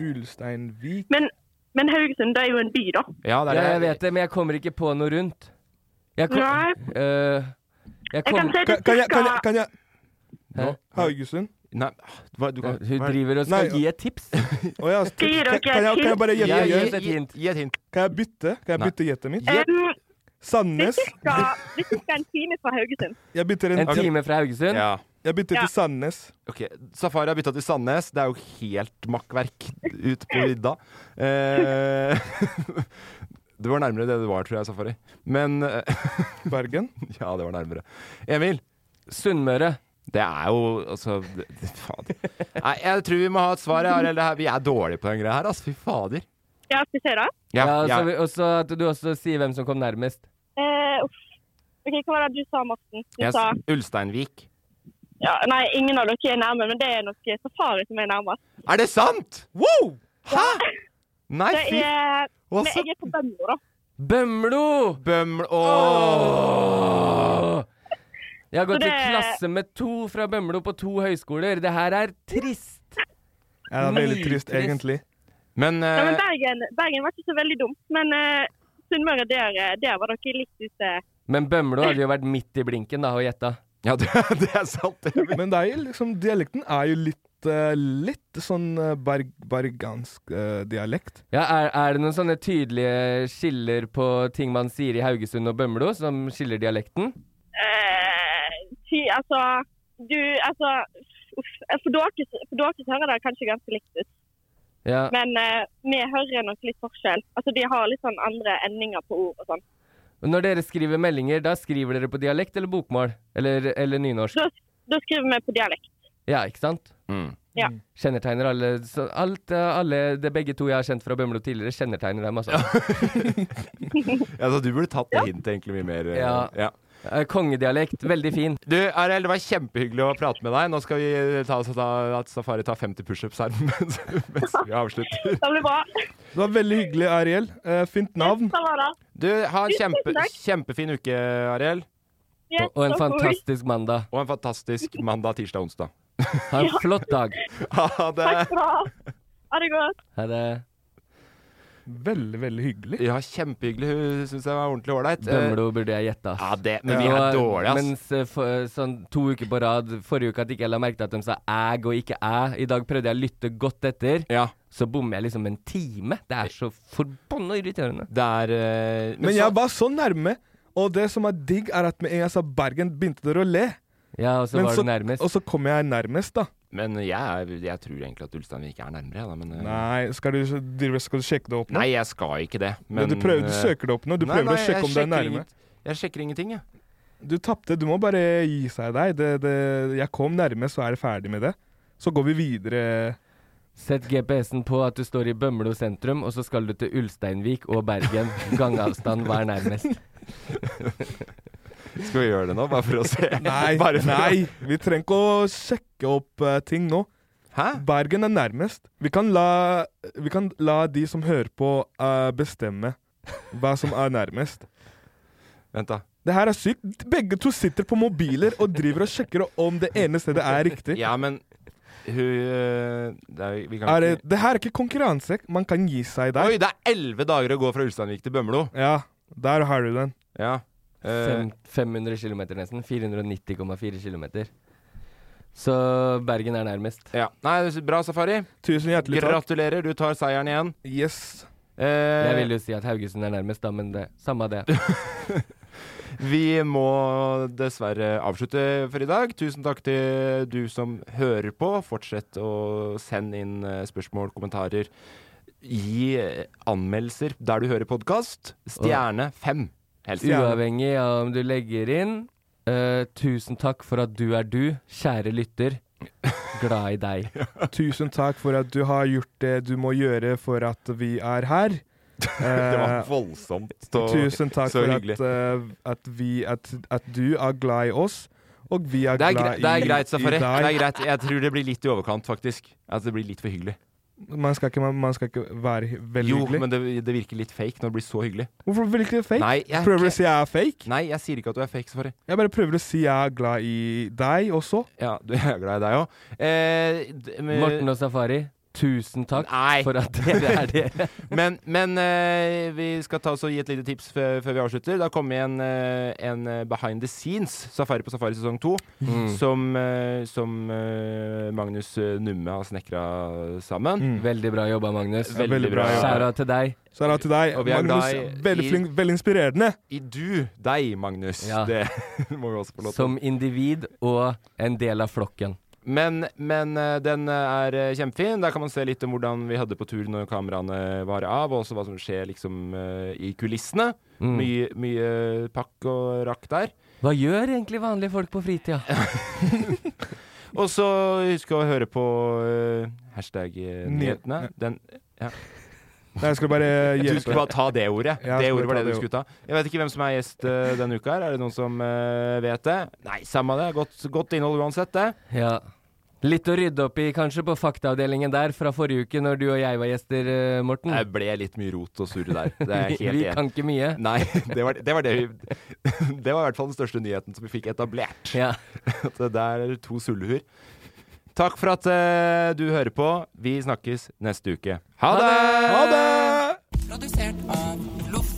Speaker 5: Ulsteinvik
Speaker 15: Men, men Haugesund det er jo en by, da.
Speaker 1: Ja, det er det.
Speaker 2: jeg vet det, men jeg kommer ikke på noe rundt. Jeg kom,
Speaker 15: Nei.
Speaker 2: Øh, jeg
Speaker 15: Jeg
Speaker 2: kom,
Speaker 15: kan si det
Speaker 5: Kan- kan jeg- kan jeg-
Speaker 15: cirka-
Speaker 5: kan jeg-
Speaker 2: Hæ?
Speaker 5: Haugesund?
Speaker 1: Nei, hva, du kan,
Speaker 2: Hun driver og skal gi et tips.
Speaker 5: Å ja, så-
Speaker 15: Skal jeg gi dere
Speaker 5: kan, kan, jeg, kan jeg bare
Speaker 2: et hint? Ja,
Speaker 5: gjette?
Speaker 2: gi oss
Speaker 5: gjette?
Speaker 2: et hint.
Speaker 1: Gi et hint.
Speaker 5: Kan jeg bytte? Kan jeg bytte gjettet mitt?
Speaker 15: Em,
Speaker 5: Sandnes?
Speaker 15: det er cirka- Det er cirka en time fra Haugesund.
Speaker 5: Jeg bytter en
Speaker 2: En time fra Haugesund?
Speaker 1: Ja.
Speaker 5: Jeg bytter til Sandnes.
Speaker 1: Ok, Safari har bytta til Sandnes. Det er jo helt makkverk ut på vidda. Eh, du var nærmere det du var, tror jeg, Safari. Men eh,
Speaker 5: Bergen?
Speaker 1: Ja, det var nærmere. Emil?
Speaker 2: Sunnmøre.
Speaker 1: Det er jo altså det- det- Fader. Nei, jeg tror vi må ha et svar. jeg, Arild. Det her- Vi er dårlige på den greia her, altså. Fy fader.
Speaker 15: Ja, skal vi se, da.
Speaker 1: Ja,
Speaker 2: Ja,
Speaker 1: ja.
Speaker 2: så vi, også at du også sier hvem som kom nærmest.
Speaker 15: Eh, uff. Ok, Hva var det du sa, Morten? Du
Speaker 1: Jeg,
Speaker 15: sa
Speaker 1: s- Ulsteinvik.
Speaker 15: ja, Nei, ingen av dere er nærme, men det er nok Safari som er nærmest.
Speaker 1: Er det sant?! Wow! Hæ?! Nei,
Speaker 15: det
Speaker 1: fy
Speaker 15: er,
Speaker 1: Hva
Speaker 15: men
Speaker 1: sa-
Speaker 15: jeg er på Bømlo, da.
Speaker 2: Bømlo!
Speaker 1: Bømlo Åh!
Speaker 2: Jeg har gått
Speaker 15: Så det-
Speaker 2: i klasse med to fra Bømlo på to høyskoler. Det her er trist.
Speaker 5: Ja, det er veldig trist,
Speaker 2: Nitrist.
Speaker 5: egentlig.
Speaker 1: Men, eh,
Speaker 15: Ja,
Speaker 5: Eh.
Speaker 15: men Bergen, Bergen var ikke så veldig dumt, men eh, Sunnmøre, der, eh, der var dere litt ute.
Speaker 2: Men Bømlo hadde jo vært midt i blinken da og gjetta.
Speaker 1: Ja, det, er sant.
Speaker 5: Men det er jo liksom, dialekten er jo litt, eh, litt sånn eh, berg, bergansk eh, dialekt.
Speaker 2: Ja, er, er det noen sånne tydelige skiller på ting man sier i Haugesund og Bømlo, som skiller dialekten?
Speaker 15: Eh, ty, altså, du, altså, uff, eh, for dere, for dere så hører det kanskje ganske likt ut.
Speaker 2: Ja.
Speaker 15: Men eh, vi hører nok litt forskjell. Altså, de har litt sånn andre endinger på ord og sånn.
Speaker 2: Og Når dere skriver meldinger, da skriver dere på dialekt eller bokmål? Eller, eller nynorsk?
Speaker 15: Da, da skriver vi på dialekt.
Speaker 2: Ja, ikke sant?
Speaker 1: Mm.
Speaker 15: Ja.
Speaker 2: Kjennetegner alle så alt, eh, alle det Begge to jeg har kjent fra Bømlo tidligere, kjennetegner dem, altså.
Speaker 1: altså, du burde tatt det hintet egentlig mye mer. eh,
Speaker 2: Ja. Eh, Kongedialekt. Veldig fin.
Speaker 1: Du, Arild, det var kjempehyggelig å prate med deg. Nå skal vi eh, ta, ta, at Safari tar 50 pushups her mens, mens vi avslutter.
Speaker 15: Det blir bra.
Speaker 5: Det var veldig hyggelig, Ariel. Eh, fint navn.
Speaker 15: Det var det.
Speaker 1: Du, ha en
Speaker 15: Tusen
Speaker 1: kjempe,
Speaker 15: takk.
Speaker 1: kjempefin uke, Arild.
Speaker 15: Yes, Og- og en takk for meg. fantastisk
Speaker 2: mandag.
Speaker 1: Og en fantastisk mandag, tirsdag, onsdag.
Speaker 2: Ha en flott dag.
Speaker 1: Ha det.
Speaker 15: Takk skal du ha. Ha det godt.
Speaker 2: Ha det.
Speaker 5: Veldig, veldig hyggelig.
Speaker 1: Ja, kjempehyggelig. Hun syns jeg var ordentlig ålreit.
Speaker 2: Bømlo burde jeg gjette.
Speaker 1: Eh, Ja, det, men vi er dårlige, ass.
Speaker 2: Mens eh, for, eh, sånn to uker på rad forrige uke at ikke jeg la merke til at de sa æg og ikke æ. I dag prøvde jeg å lytte godt etter. Så bommer jeg liksom en time. Det er så forbanna irriterende.
Speaker 1: Det er eh,
Speaker 5: Men, jeg var så nærme, og det som er digg, er at med en gang jeg sa Bergen, begynte dere å le.
Speaker 2: Ja, og så
Speaker 5: Men
Speaker 2: var du nærmest.
Speaker 5: Og så kom jeg nærmest, da.
Speaker 1: Men jeg, er- jeg tror egentlig at Ulsteinvik er nærmere, jeg, da. Men, eh,
Speaker 5: Nei, skal du, driver- skal du sjekke det opp nå?
Speaker 1: Nei, jeg skal ikke det. eh,
Speaker 5: Men du prøver- du søker det opp nå, du prøver å sjekke
Speaker 1: jeg
Speaker 5: om det er
Speaker 1: sjekker
Speaker 5: nærme.
Speaker 1: ingenting. Jeg sjekker ingenting, jeg.
Speaker 5: Du tapte, du må bare gi seg deg. Det, det, jeg kom nærme, så er det ferdig med det. Så går vi videre.
Speaker 2: Sett GPS-en på at du står i Bømlo sentrum, og så skal du til Ulsteinvik og Bergen. Gangavstand, hva er nærmest?
Speaker 1: Skal vi gjøre det nå, bare for å se?
Speaker 5: Nei,
Speaker 1: Bare for å-
Speaker 5: nei, vi trenger ikke å sjekke opp eh, ting nå.
Speaker 1: Hæ?
Speaker 5: Bergen er nærmest. Vi kan la, vi kan la de som hører på, eh, bestemme hva som er nærmest.
Speaker 1: Vent, da.
Speaker 5: Det her er sykt. Begge to sitter på mobiler og driver og sjekker om det ene stedet er riktig.
Speaker 1: Ja, men hun eh, det er, vi kan
Speaker 5: Er det,
Speaker 1: ikke-
Speaker 5: det her er ikke konkurranse. Man kan gi seg der.
Speaker 1: Oi, det er elleve dager å gå fra Ulsteinvik til Bømlo.
Speaker 5: Ja, der har du den.
Speaker 1: Ja. Eh,
Speaker 2: Fem, 500 km nesten. 490,4 km. Så Bergen er nærmest.
Speaker 1: ja. Nei, bra, Safari.
Speaker 5: Tusen hjertelig takk.
Speaker 1: Gratulerer, du tar seieren igjen.
Speaker 5: Yes.
Speaker 2: Jeg
Speaker 1: Eh,
Speaker 2: vil jo si at Haugesund er nærmest, da, men det, samme det.
Speaker 1: vi må dessverre avslutte for i dag. Tusen takk til du som hører på. Fortsett å sende inn eh, spørsmål, kommentarer. Gi eh, anmeldelser der du hører podkast. Stjerne fem, helst.
Speaker 2: Uavhengig av om du legger inn. eh, tusen takk for at du er du, kjære lytter. Glad i deg.
Speaker 5: Tusen takk for at du har gjort det du må gjøre for at vi er her.
Speaker 1: Det var
Speaker 5: Eh,
Speaker 1: voldsomt. og
Speaker 5: Tusen takk
Speaker 1: så
Speaker 5: for at,
Speaker 1: hyggelig.
Speaker 5: eh, at, vi, at, at du er glad i oss, og vi er,
Speaker 1: Det er,
Speaker 5: glad
Speaker 1: greit, det er
Speaker 5: i,
Speaker 1: greit,
Speaker 5: i
Speaker 1: Safari.
Speaker 5: deg.
Speaker 1: Det er greit. Jeg tror det blir litt i overkant, faktisk. At det blir litt for hyggelig.
Speaker 5: Man, skal ikke, man, man skal ikke være hy- veldig
Speaker 1: Jo,
Speaker 5: hyggelig.
Speaker 1: men det, det virker litt fake når det blir så hyggelig.
Speaker 5: Hvorfor vil ikke det fake?
Speaker 1: Nei, jeg er
Speaker 5: prøver du
Speaker 1: ikke-
Speaker 5: å si jeg er fake?
Speaker 1: Nei, jeg sier ikke at du er fake, Safari.
Speaker 5: Jeg bare prøver å si jeg er glad i deg også.
Speaker 1: Ja, du jeg er glad i deg òg. Eh, d- men-
Speaker 2: Morten og Safari, Tusen takk
Speaker 1: Nei.
Speaker 2: for at dere er dere.
Speaker 1: men men eh, vi skal ta oss og gi et lite tips før, før vi avslutter. Det har kommet en, eh, en eh, behind the scenes Safari på Safari sesong to.
Speaker 2: Mm.
Speaker 1: Som, eh, som eh, Magnus eh, Numme har snekra
Speaker 2: Mm.
Speaker 1: sammen.
Speaker 2: Veldig bra jobba, Magnus.
Speaker 1: Veldig, bra.
Speaker 2: Skjæra til deg.
Speaker 5: Skjæra til deg.
Speaker 1: Og vi er
Speaker 5: Magnus,
Speaker 1: glad i-
Speaker 5: veldig
Speaker 1: i-
Speaker 5: flink, veldig inspirerende.
Speaker 1: I du, deg, Magnus.
Speaker 2: Ja.
Speaker 1: Det må vi også få lov til.
Speaker 2: Som individ og en del av flokken.
Speaker 1: Men, men eh, den eh, er eh, kjempefin. Der kan man se litt om hvordan vi hadde på tur når kameraene var av, og også hva som skjer liksom eh, i kulissene.
Speaker 2: Mm.
Speaker 1: Mye, mye pakk og rakk der.
Speaker 2: Hva gjør egentlig vanlige folk på fritida?
Speaker 1: Og så husk å høre på eh, hashtag eh, nyhetene. Den ja.
Speaker 5: Nei, jeg skulle bare hjelpe.
Speaker 1: Du skulle bare ta det ordet.
Speaker 5: Ja,
Speaker 1: det
Speaker 5: jeg skulle
Speaker 1: ordet var
Speaker 5: ta
Speaker 1: det du
Speaker 5: det
Speaker 1: skulle ta. Jeg vet ikke hvem som er gjest eh, denne uka her. Er det noen som eh, vet det? Nei, samme det. Godt, godt innhold uansett, det.
Speaker 2: Ja. Litt å rydde opp i kanskje på faktaavdelingen der fra forrige uke når du og jeg var gjester, eh, Morten.
Speaker 1: Jeg ble litt mye rot og surre der. Det er jeg
Speaker 2: Vi-
Speaker 1: helt
Speaker 2: vi
Speaker 1: enig.
Speaker 2: kan ikke mye.
Speaker 1: Nei, det var, det var det vi Det var i hvert fall den største nyheten som vi fikk etablert. At det der er to sullehuer. Takk for at eh, du hører på. Vi snakkes neste uke. Ha det!
Speaker 10: Ha
Speaker 1: det!
Speaker 10: Produsert av Loff.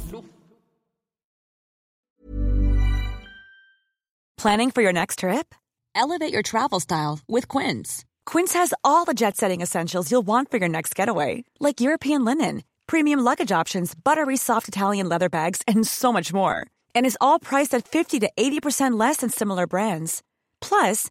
Speaker 16: Planning for your next trip? Elevate your travel style with Quince. Quince has all the jet setting essentials you'll want for your next getaway, like European linen, premium luggage options, buttery soft Italian leather bags, and so much more. And is all priced at 50 to 80% less than similar brands. Plus,